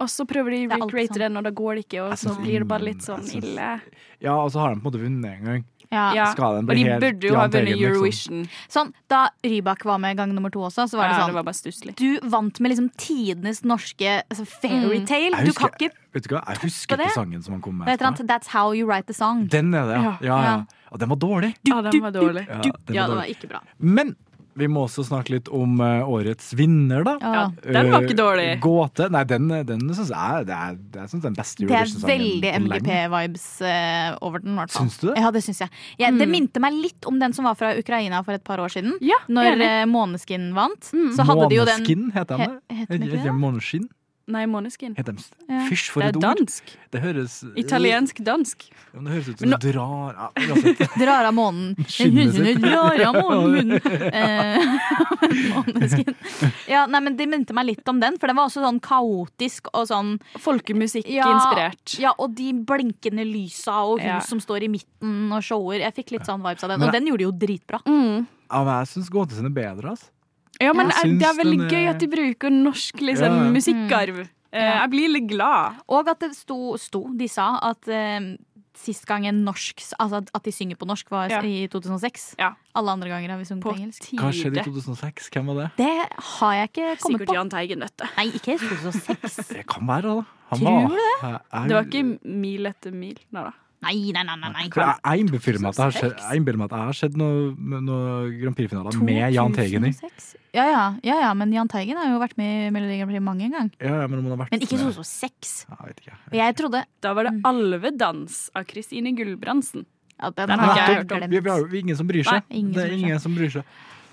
[SPEAKER 7] Og så prøver de
[SPEAKER 6] er
[SPEAKER 7] å
[SPEAKER 6] alltid
[SPEAKER 7] recreate
[SPEAKER 6] sånn.
[SPEAKER 7] den, og da går det ikke, og
[SPEAKER 3] Jeg
[SPEAKER 7] så
[SPEAKER 3] synes-
[SPEAKER 7] blir det bare litt sånn
[SPEAKER 3] jeg synes-
[SPEAKER 7] ille.
[SPEAKER 3] ja, og så har de på en måte vunnet en gang.
[SPEAKER 6] Ja.
[SPEAKER 7] Ja.
[SPEAKER 3] Skal den
[SPEAKER 7] Og
[SPEAKER 3] bli
[SPEAKER 7] de
[SPEAKER 3] helt
[SPEAKER 7] burde jo ha
[SPEAKER 3] Jahn Teigen,
[SPEAKER 7] vunnet
[SPEAKER 3] liksom?
[SPEAKER 7] Eurovision.
[SPEAKER 6] Sånn, da Rybak var med gang nummer to også, så var det
[SPEAKER 7] Ja,
[SPEAKER 6] sånn
[SPEAKER 7] det var bare stusslig.
[SPEAKER 6] Du vant med liksom tidenes norske altså fairytale.
[SPEAKER 3] Jeg
[SPEAKER 6] Du
[SPEAKER 3] husker-
[SPEAKER 6] kan ikke
[SPEAKER 3] Vet du hva, jeg husker
[SPEAKER 6] det.
[SPEAKER 3] ikke sangen som han kom med.
[SPEAKER 6] Hva heter han?
[SPEAKER 3] etterpå.
[SPEAKER 6] That's how you write the song.
[SPEAKER 3] Den er det, ja.
[SPEAKER 7] Ja.
[SPEAKER 3] ja, ja.
[SPEAKER 6] Ja.
[SPEAKER 3] Og den var dårlig.
[SPEAKER 7] Ja, den var dårlig.
[SPEAKER 3] Ja, den
[SPEAKER 6] Ja,
[SPEAKER 3] var
[SPEAKER 6] det var
[SPEAKER 3] dårlig.
[SPEAKER 6] ikke bra.
[SPEAKER 3] Men vi må også snakke litt om eh, årets vinner, da.
[SPEAKER 6] Ja.
[SPEAKER 7] Ja, den var
[SPEAKER 3] Eh,
[SPEAKER 7] ikke dårlig.
[SPEAKER 3] Gåte. Nei, den, eh, den syns jeg det er, det er, synes den beste
[SPEAKER 6] Det er
[SPEAKER 3] Eurovision-sangen.
[SPEAKER 6] veldig
[SPEAKER 3] på lenge.
[SPEAKER 6] MGP-vibes eh, over den. i hvert fall.
[SPEAKER 3] Syns du det?
[SPEAKER 6] Ja, det syns jeg. Ja, Det minte meg litt om den som var fra Ukraina for et par år siden.
[SPEAKER 7] Ja,
[SPEAKER 6] Når
[SPEAKER 7] enig.
[SPEAKER 6] eh, Måneskin vant, så hadde de jo den
[SPEAKER 3] Måneskin heter de det?
[SPEAKER 6] He- heter
[SPEAKER 3] Heter
[SPEAKER 6] de ikke det,
[SPEAKER 3] de
[SPEAKER 6] da?
[SPEAKER 3] Måneskin?
[SPEAKER 7] Nei, Måneskin.
[SPEAKER 3] Heter de
[SPEAKER 6] Ja.
[SPEAKER 3] Fysj, for et
[SPEAKER 7] Det er
[SPEAKER 3] ord!
[SPEAKER 7] dansk.
[SPEAKER 3] Det høres
[SPEAKER 7] Italiensk-dansk.
[SPEAKER 3] Ja, men Det høres ut som
[SPEAKER 7] Men
[SPEAKER 3] du drar ja, uansett. [laughs]
[SPEAKER 6] Drar av månen.
[SPEAKER 3] Skinnet sitt.
[SPEAKER 6] Drar av månen.
[SPEAKER 3] [laughs]
[SPEAKER 6] Eh, [laughs] Måneskin. Ja, nei, men det minte meg litt om den, for den var også sånn kaotisk og sånn
[SPEAKER 7] Folkemusikk-inspirert.
[SPEAKER 6] Ja, og de blinkende lysa og hun
[SPEAKER 7] Ja.
[SPEAKER 6] som står i midten og shower. Jeg fikk litt sånn vibes av den,
[SPEAKER 3] Men-
[SPEAKER 6] og den gjorde det jo dritbra.
[SPEAKER 7] Mm.
[SPEAKER 3] Ja, men jeg syns Gåte sin er bedre, altså.
[SPEAKER 7] Ja, men
[SPEAKER 3] Jeg
[SPEAKER 7] er, det er
[SPEAKER 3] syns
[SPEAKER 7] veldig
[SPEAKER 3] den er-
[SPEAKER 7] gøy at de bruker norsk
[SPEAKER 3] Ja,
[SPEAKER 7] liksom,
[SPEAKER 3] ja.
[SPEAKER 7] musikkarv. Eh,
[SPEAKER 6] Ja.
[SPEAKER 7] Jeg blir litt glad.
[SPEAKER 6] Og at det sto, sto de sa at eh, sist gang en norsk Altså at de synger på norsk, var
[SPEAKER 7] Ja.
[SPEAKER 6] i 2006.
[SPEAKER 7] Ja.
[SPEAKER 6] Alle andre ganger har vi sunget
[SPEAKER 7] På
[SPEAKER 6] på engelsk.
[SPEAKER 3] Hva skjedde i
[SPEAKER 7] tide.
[SPEAKER 3] 2006? Hvem var det?
[SPEAKER 6] Det har jeg ikke kommet
[SPEAKER 7] Sikkert
[SPEAKER 6] på.
[SPEAKER 7] Jahn Teigen, vet du.
[SPEAKER 6] Nei, ikke 2006.
[SPEAKER 3] Det kan være, da. Han
[SPEAKER 6] Tror
[SPEAKER 3] var-
[SPEAKER 6] du
[SPEAKER 3] Jeg- jeg-
[SPEAKER 7] Det var ikke mil etter mil. Nei da.
[SPEAKER 6] Nei, nei, nei. nei,
[SPEAKER 3] For
[SPEAKER 6] nei.
[SPEAKER 3] jeg, jeg innbiller meg at jeg har skjedd, jeg innbiller meg at jeg har sett noen noe Grand Prix-finaler med Jahn Teigen i.
[SPEAKER 6] 2006? Ja ja, ja, ja, men Jahn Teigen har jo vært med i Melodi Grand Prix mange ganger.
[SPEAKER 3] Ja, ja, men om han har vært
[SPEAKER 6] Men ikke sånn
[SPEAKER 3] med-
[SPEAKER 6] 2006.
[SPEAKER 3] Ja, Jeg vet ikke.
[SPEAKER 6] Og jeg trodde
[SPEAKER 7] Da var det Alvedans av Kristine Gulbrandsen.
[SPEAKER 6] at den,
[SPEAKER 7] Den har
[SPEAKER 6] har
[SPEAKER 7] ikke
[SPEAKER 6] jeg
[SPEAKER 7] jeg
[SPEAKER 6] hørt
[SPEAKER 3] Nettopp. Vi, vi har
[SPEAKER 6] glemt.
[SPEAKER 3] jo ingen som bryr seg.
[SPEAKER 6] Nei, ingen
[SPEAKER 3] det er
[SPEAKER 6] som bryr seg.
[SPEAKER 3] ingen som bryr seg.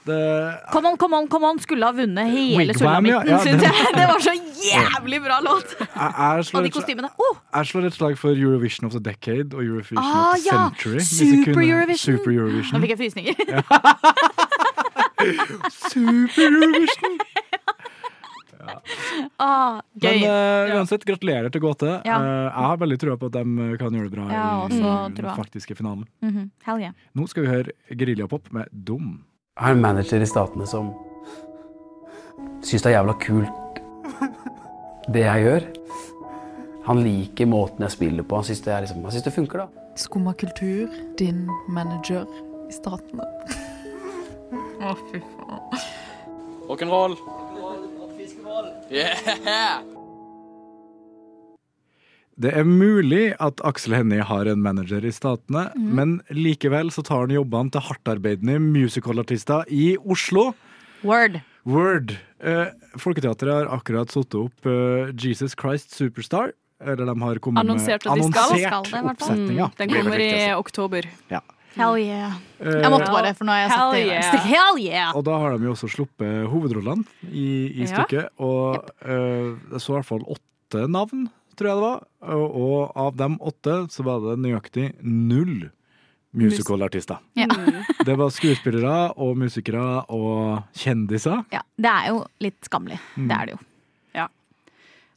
[SPEAKER 3] Det,
[SPEAKER 6] Come on, come on, come on! Skulle ha vunnet hele
[SPEAKER 3] Wigwam,
[SPEAKER 6] Sulamitten,
[SPEAKER 3] ja, ja,
[SPEAKER 6] syns
[SPEAKER 3] den-
[SPEAKER 6] jeg!
[SPEAKER 3] [laughs]
[SPEAKER 6] Det var så jævlig bra låt!
[SPEAKER 3] jeg, jeg,
[SPEAKER 6] Og
[SPEAKER 3] slår
[SPEAKER 6] de
[SPEAKER 3] et, slag-
[SPEAKER 6] kostymene. Oh,
[SPEAKER 3] jeg slår et slag for Eurovision of the Decade og Eurovision
[SPEAKER 6] Ah,
[SPEAKER 3] of the
[SPEAKER 6] ja!
[SPEAKER 3] Century. hvis vi
[SPEAKER 6] Super
[SPEAKER 3] kunne-
[SPEAKER 6] Eurovision.
[SPEAKER 3] Super Eurovision.
[SPEAKER 6] nå fikk jeg frysninger.
[SPEAKER 3] Super Eurovision!
[SPEAKER 6] [laughs] Ah,
[SPEAKER 3] Men
[SPEAKER 6] gøy.
[SPEAKER 3] eh, uansett, gratulerer til Gåte.
[SPEAKER 6] Ja.
[SPEAKER 3] Eh, jeg har veldig trua på at de kan gjøre det bra
[SPEAKER 6] Ja,
[SPEAKER 3] i
[SPEAKER 6] også
[SPEAKER 3] den
[SPEAKER 6] trua.
[SPEAKER 3] faktiske finalen.
[SPEAKER 6] Mhm. Hell yeah.
[SPEAKER 3] Nå skal vi høre Geriljapop med Dum.
[SPEAKER 10] Jeg er en manager i statene som syns det er jævla kult det jeg gjør. Han liker måten jeg spiller på. Han syns det, er liksom, han synes det funker, da.
[SPEAKER 11] Skumma kultur, din manager i staten. Å, fy faen.
[SPEAKER 8] Rock'n'roll.
[SPEAKER 3] Det er mulig at Aksel Hennie har en manager i Statene,
[SPEAKER 6] Mhm.
[SPEAKER 3] men likevel så tar han jobbene til hardtarbeidende musicalartister i Oslo.
[SPEAKER 6] Word.
[SPEAKER 3] Word! Eh, Folketeatret har akkurat satt opp eh, Jesus Christ Superstar. Eller de har kommet
[SPEAKER 7] Annonsert at
[SPEAKER 3] med
[SPEAKER 7] de skal.
[SPEAKER 3] annonsert
[SPEAKER 6] Skal det, i hvert fall. Mm,
[SPEAKER 3] oppsetninga.
[SPEAKER 7] Mm, Den kommer i
[SPEAKER 3] altså.
[SPEAKER 7] oktober.
[SPEAKER 6] Hell yeah.
[SPEAKER 3] Eh,
[SPEAKER 6] Jeg måtte bare, for nå har jeg satt det i
[SPEAKER 7] Hell
[SPEAKER 6] gang.
[SPEAKER 7] yeah.
[SPEAKER 6] Stikk- Hell yeah!
[SPEAKER 3] Og da har de jo også sluppet hovedrollene i, i
[SPEAKER 7] Ja.
[SPEAKER 3] stykket. Og eh, jeg så i hvert fall åtte navn, tror jeg det var. Og, og av dem åtte så var det nøyaktig null musicalartister.
[SPEAKER 6] Ja.
[SPEAKER 3] Det var skuespillere og musikere og kjendiser.
[SPEAKER 6] Ja, det er jo litt skammelig.
[SPEAKER 3] Mm.
[SPEAKER 6] Det er det jo.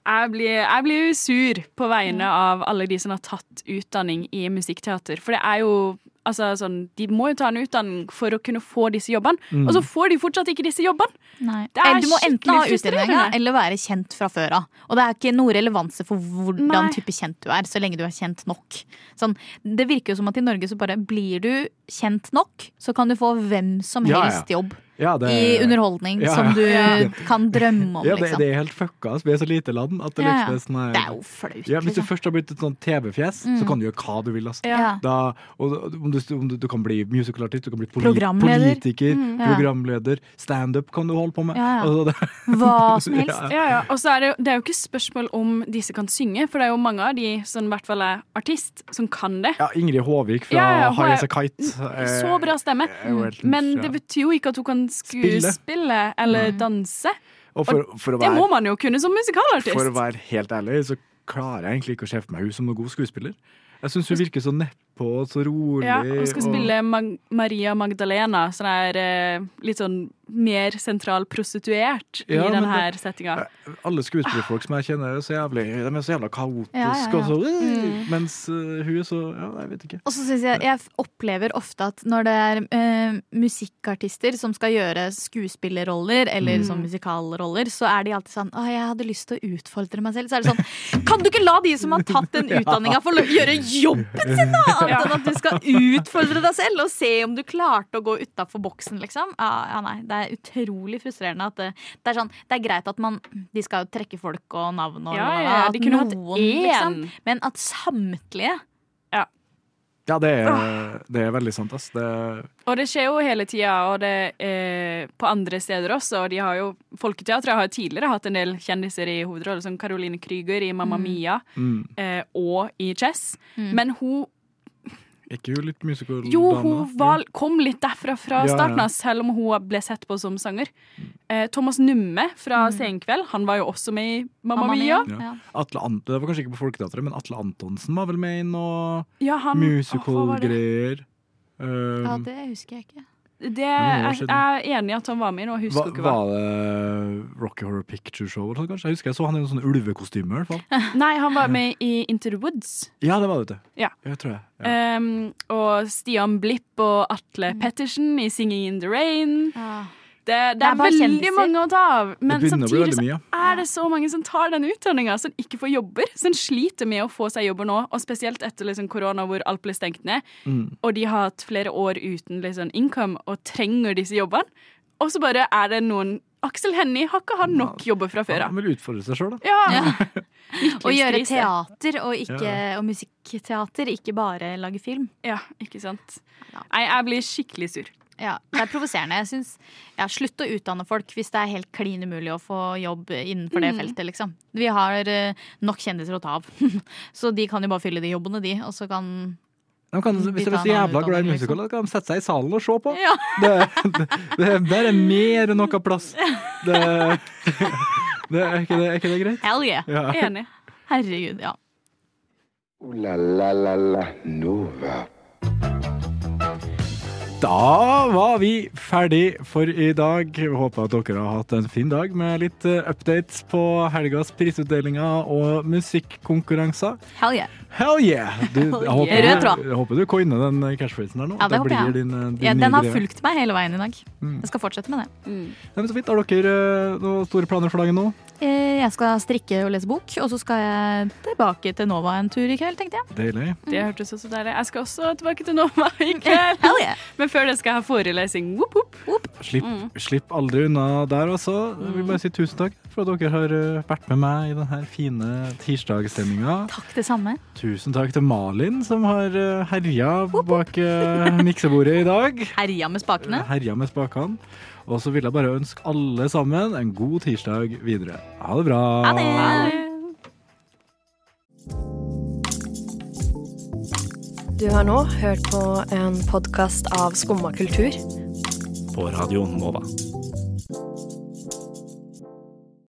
[SPEAKER 7] Jeg blir, jeg blir jo sur på vegne av alle de som har tatt utdanning i musikkteater. For det er jo altså, sånn, De må jo ta en utdanning for å kunne få disse jobbene,
[SPEAKER 3] Mm.
[SPEAKER 7] og så får de fortsatt ikke disse jobbene! Det er
[SPEAKER 6] Eller du må enten ha
[SPEAKER 7] skikkelig
[SPEAKER 6] utdanninga
[SPEAKER 7] frustrerende.
[SPEAKER 6] eller være kjent fra før av. Og det er ikke noe relevanse for hvordan
[SPEAKER 7] Nei.
[SPEAKER 6] type kjent du er, så lenge du er kjent nok. Sånn, det virker jo som at i Norge så bare blir du kjent nok, så kan du få hvem som
[SPEAKER 3] Ja, ja.
[SPEAKER 6] helst jobb
[SPEAKER 3] Ja, det,
[SPEAKER 6] i underholdning
[SPEAKER 3] Ja, ja.
[SPEAKER 6] som du kan drømme om,
[SPEAKER 3] ja, det,
[SPEAKER 6] liksom.
[SPEAKER 3] det er helt fucka. ass. Vi er så lite land at det
[SPEAKER 6] Ja, ja.
[SPEAKER 3] liksom er sånn her-
[SPEAKER 6] Det er jo flaut.
[SPEAKER 3] ja, Hvis du
[SPEAKER 6] liksom.
[SPEAKER 3] først har blitt et sånn TV-fjes, så
[SPEAKER 7] Mm.
[SPEAKER 3] kan du gjøre hva du vil. ass.
[SPEAKER 6] ja.
[SPEAKER 3] Da, og om du, om du, du kan bli musicalartist, du kan bli poli
[SPEAKER 6] Programleder.
[SPEAKER 3] politiker,
[SPEAKER 7] Mm,
[SPEAKER 6] ja.
[SPEAKER 3] programleder, standup kan du holde på med.
[SPEAKER 6] Ja, ja.
[SPEAKER 3] Altså, det, [laughs]
[SPEAKER 6] Hva som helst.
[SPEAKER 7] Ja, ja. Og så er det, jo- det er jo ikke spørsmål om disse kan synge, for det er jo mange av de som i hvert fall er artist, som kan det.
[SPEAKER 3] ja, Ingrid Håvik fra
[SPEAKER 7] Ja, ja, hun
[SPEAKER 3] High
[SPEAKER 7] er-
[SPEAKER 3] As A Kite. eh,
[SPEAKER 7] Så bra stemme.
[SPEAKER 3] er jo helt-
[SPEAKER 7] Men
[SPEAKER 3] ja.
[SPEAKER 7] det betyr jo ikke at hun kan
[SPEAKER 3] Spille.
[SPEAKER 7] skuespille eller danse.
[SPEAKER 3] Og for, for, å
[SPEAKER 7] det må
[SPEAKER 3] være,
[SPEAKER 7] man jo kunne som musikalartist.
[SPEAKER 3] for å være helt ærlig, så klarer jeg egentlig ikke å se for meg hun som noen god skuespiller. Jeg syns hun virker så nedpå og så rolig.
[SPEAKER 7] Ja, og skal spille Mag Maria Magdalena, som er eh, litt sånn mer sentral prostituert
[SPEAKER 3] Ja,
[SPEAKER 7] i
[SPEAKER 3] men
[SPEAKER 7] denne
[SPEAKER 3] det-
[SPEAKER 7] settinga.
[SPEAKER 3] Alle skuespillerfolk som jeg kjenner, er så jævlig, de er så jævla kaotiske.
[SPEAKER 6] Ja, ja, ja.
[SPEAKER 3] Og så,
[SPEAKER 6] Mm.
[SPEAKER 3] Mens eh, hun er så Ja, jeg vet ikke.
[SPEAKER 6] Og så synes jeg, jeg opplever ofte at når det er eh, musikkartister som skal gjøre skuespillerroller eller
[SPEAKER 3] Mm.
[SPEAKER 6] sånn musikalroller, så er de alltid sånn Å, jeg hadde lyst til å utfordre meg selv. Så er det sånn Kan du ikke la de som har
[SPEAKER 7] [laughs]
[SPEAKER 6] tatt den
[SPEAKER 3] Ja.
[SPEAKER 6] utdanninga, få lo- gjøre jobben sin, da? Annet enn at du skal utfordre deg selv og se om du klarte å gå utafor boksen, liksom. Ja, ja, nei. Det er utrolig frustrerende at det, det er sånn Det er greit at man De skal jo trekke folk og navn og
[SPEAKER 7] Ja, ja, ja,
[SPEAKER 6] at
[SPEAKER 7] de kunne hatt
[SPEAKER 6] noen,
[SPEAKER 7] én.
[SPEAKER 6] liksom. Men at samtlige
[SPEAKER 3] Ja, det er, det er veldig sant, ass. Det er
[SPEAKER 7] Og det skjer jo hele tida, og det eh, på andre steder også. Og de har jo Folketeatret har jo tidligere hatt en del kjendiser i hovedroller, som Caroline Krüger i Mamma Mia
[SPEAKER 3] Mm.
[SPEAKER 7] eh, og i Chess. Men hun
[SPEAKER 3] ikke hun litt musical-dame?
[SPEAKER 7] Jo, hun var, kom litt derfra
[SPEAKER 3] Ja,
[SPEAKER 7] fra
[SPEAKER 3] ja.
[SPEAKER 7] starten av, selv om hun ble sett på som sanger. Eh, Thomas Numme fra Senkveld, han var jo også med i Mm. Mamma Mia.
[SPEAKER 3] Ja. Atle Ant det var kanskje ikke på Folketeatret, men Atle Antonsen var vel med i noe
[SPEAKER 7] Ja, han- Åh, hva var det?
[SPEAKER 3] musical-greier. Um,
[SPEAKER 7] Mm.
[SPEAKER 6] Ja, det husker jeg ikke.
[SPEAKER 7] Det,
[SPEAKER 3] noen år
[SPEAKER 7] jeg,
[SPEAKER 3] siden.
[SPEAKER 7] jeg er enig i at han var med i noe, jeg
[SPEAKER 3] hva,
[SPEAKER 7] husker ikke
[SPEAKER 3] var
[SPEAKER 7] hva.
[SPEAKER 3] det Rocky Horror Picture Show? eller noe, Kanskje? Jeg husker jeg så han i noen sånne ulvekostyme. i hvert fall.
[SPEAKER 7] Nei, han var med i Into the Woods.
[SPEAKER 3] Ja, det var det. vet du.
[SPEAKER 7] Ja.
[SPEAKER 3] Jeg tror jeg.
[SPEAKER 7] Ehm, og Stian Blipp og Atle
[SPEAKER 6] Mm.
[SPEAKER 7] Pettersen i 'Singing in the Rain'. Det, det,
[SPEAKER 6] Det er
[SPEAKER 7] er,
[SPEAKER 6] bare
[SPEAKER 7] veldig
[SPEAKER 6] kjendiser.
[SPEAKER 7] mange å ta av. Men
[SPEAKER 3] begynner å bli
[SPEAKER 7] samtidig
[SPEAKER 3] veldig mye,
[SPEAKER 7] så er det så mange som tar den utdanninga, som ikke får jobber. Som sliter med å få seg jobber nå, og spesielt etter liksom korona, hvor alt ble stengt ned.
[SPEAKER 3] Mm.
[SPEAKER 7] Og de har hatt flere år uten liksom income og trenger disse jobbene. Og så bare er det noen Aksel Hennie har ikke hatt nok jobber fra før
[SPEAKER 3] Han
[SPEAKER 7] av.
[SPEAKER 3] vil utfordre seg sjøl, da.
[SPEAKER 7] Ja.
[SPEAKER 6] Å gjøre
[SPEAKER 7] Livskrise.
[SPEAKER 6] teater og, ikke,
[SPEAKER 3] Ja.
[SPEAKER 6] Eh, og musikkteater, ikke bare lage film.
[SPEAKER 7] Ja, ikke sant. Nei, jeg blir skikkelig sur.
[SPEAKER 6] Ja, Det er provoserende. Jeg synes, ja, Slutt å utdanne folk hvis det er helt klin umulig å få jobb innenfor det
[SPEAKER 7] Mm.
[SPEAKER 6] feltet. liksom. Vi har eh, nok kjendiser å ta av, [laughs] så de kan jo bare fylle de jobbene, de. Og så kan
[SPEAKER 3] De kan, hvis de er så jævla glad i musical, da kan de sette seg i salen og se på.
[SPEAKER 6] liksom. Ja.
[SPEAKER 3] [laughs] Det, det, det, der er mer enn noe plass. Det, det, er, ikke det, er ikke det greit?
[SPEAKER 6] Hell yeah!
[SPEAKER 3] Ja. Enig.
[SPEAKER 6] Herregud, ja.
[SPEAKER 2] Ooh la la la la Nova.
[SPEAKER 3] Da var vi ferdig for i dag. Vi Håper at dere har hatt en fin dag med litt eh, updates på helgas prisutdelinger og musikkonkurranser.
[SPEAKER 6] Hell yeah.
[SPEAKER 3] Hell yeah! Du, jeg,
[SPEAKER 6] Hell yeah.
[SPEAKER 3] håper,
[SPEAKER 6] Rød tråd.
[SPEAKER 3] jeg håper du coiner den eh, catchphrasen der nå.
[SPEAKER 6] Ja,
[SPEAKER 3] at
[SPEAKER 6] det håper
[SPEAKER 3] blir
[SPEAKER 6] jeg.
[SPEAKER 3] Din, eh, din
[SPEAKER 6] ja.
[SPEAKER 3] nye
[SPEAKER 6] Den har
[SPEAKER 3] greie.
[SPEAKER 6] fulgt meg hele veien i dag.
[SPEAKER 3] Mm.
[SPEAKER 6] Jeg skal fortsette med det.
[SPEAKER 3] Nei, men så fint. Har dere eh, noen store planer for dagen nå?
[SPEAKER 6] Eh, Jeg skal strikke og lese bok, og så skal jeg tilbake til Nova en tur i kveld, tenkte jeg.
[SPEAKER 3] Deilig.
[SPEAKER 7] Det hørtes også deilig Jeg skal også tilbake til Nova i kveld. Men før det skal jeg ha forelesning. Whoop, whoop.
[SPEAKER 3] Slipp,
[SPEAKER 7] Mm.
[SPEAKER 3] slipp aldri unna der også. Jeg vil bare si tusen takk for at dere har eh, vært med meg i denne fine tirsdagssendinga.
[SPEAKER 6] Takk det samme.
[SPEAKER 3] Tusen takk til Malin som har eh, herja bak eh, miksebordet i dag. [laughs]
[SPEAKER 6] Herja med spakene.
[SPEAKER 3] Herja med spakene. Og så vil jeg bare ønske alle sammen en god tirsdag videre. Ha det bra.
[SPEAKER 12] Du har nå hørt på en podkast av Skumma kultur.
[SPEAKER 13] På Radio Nova.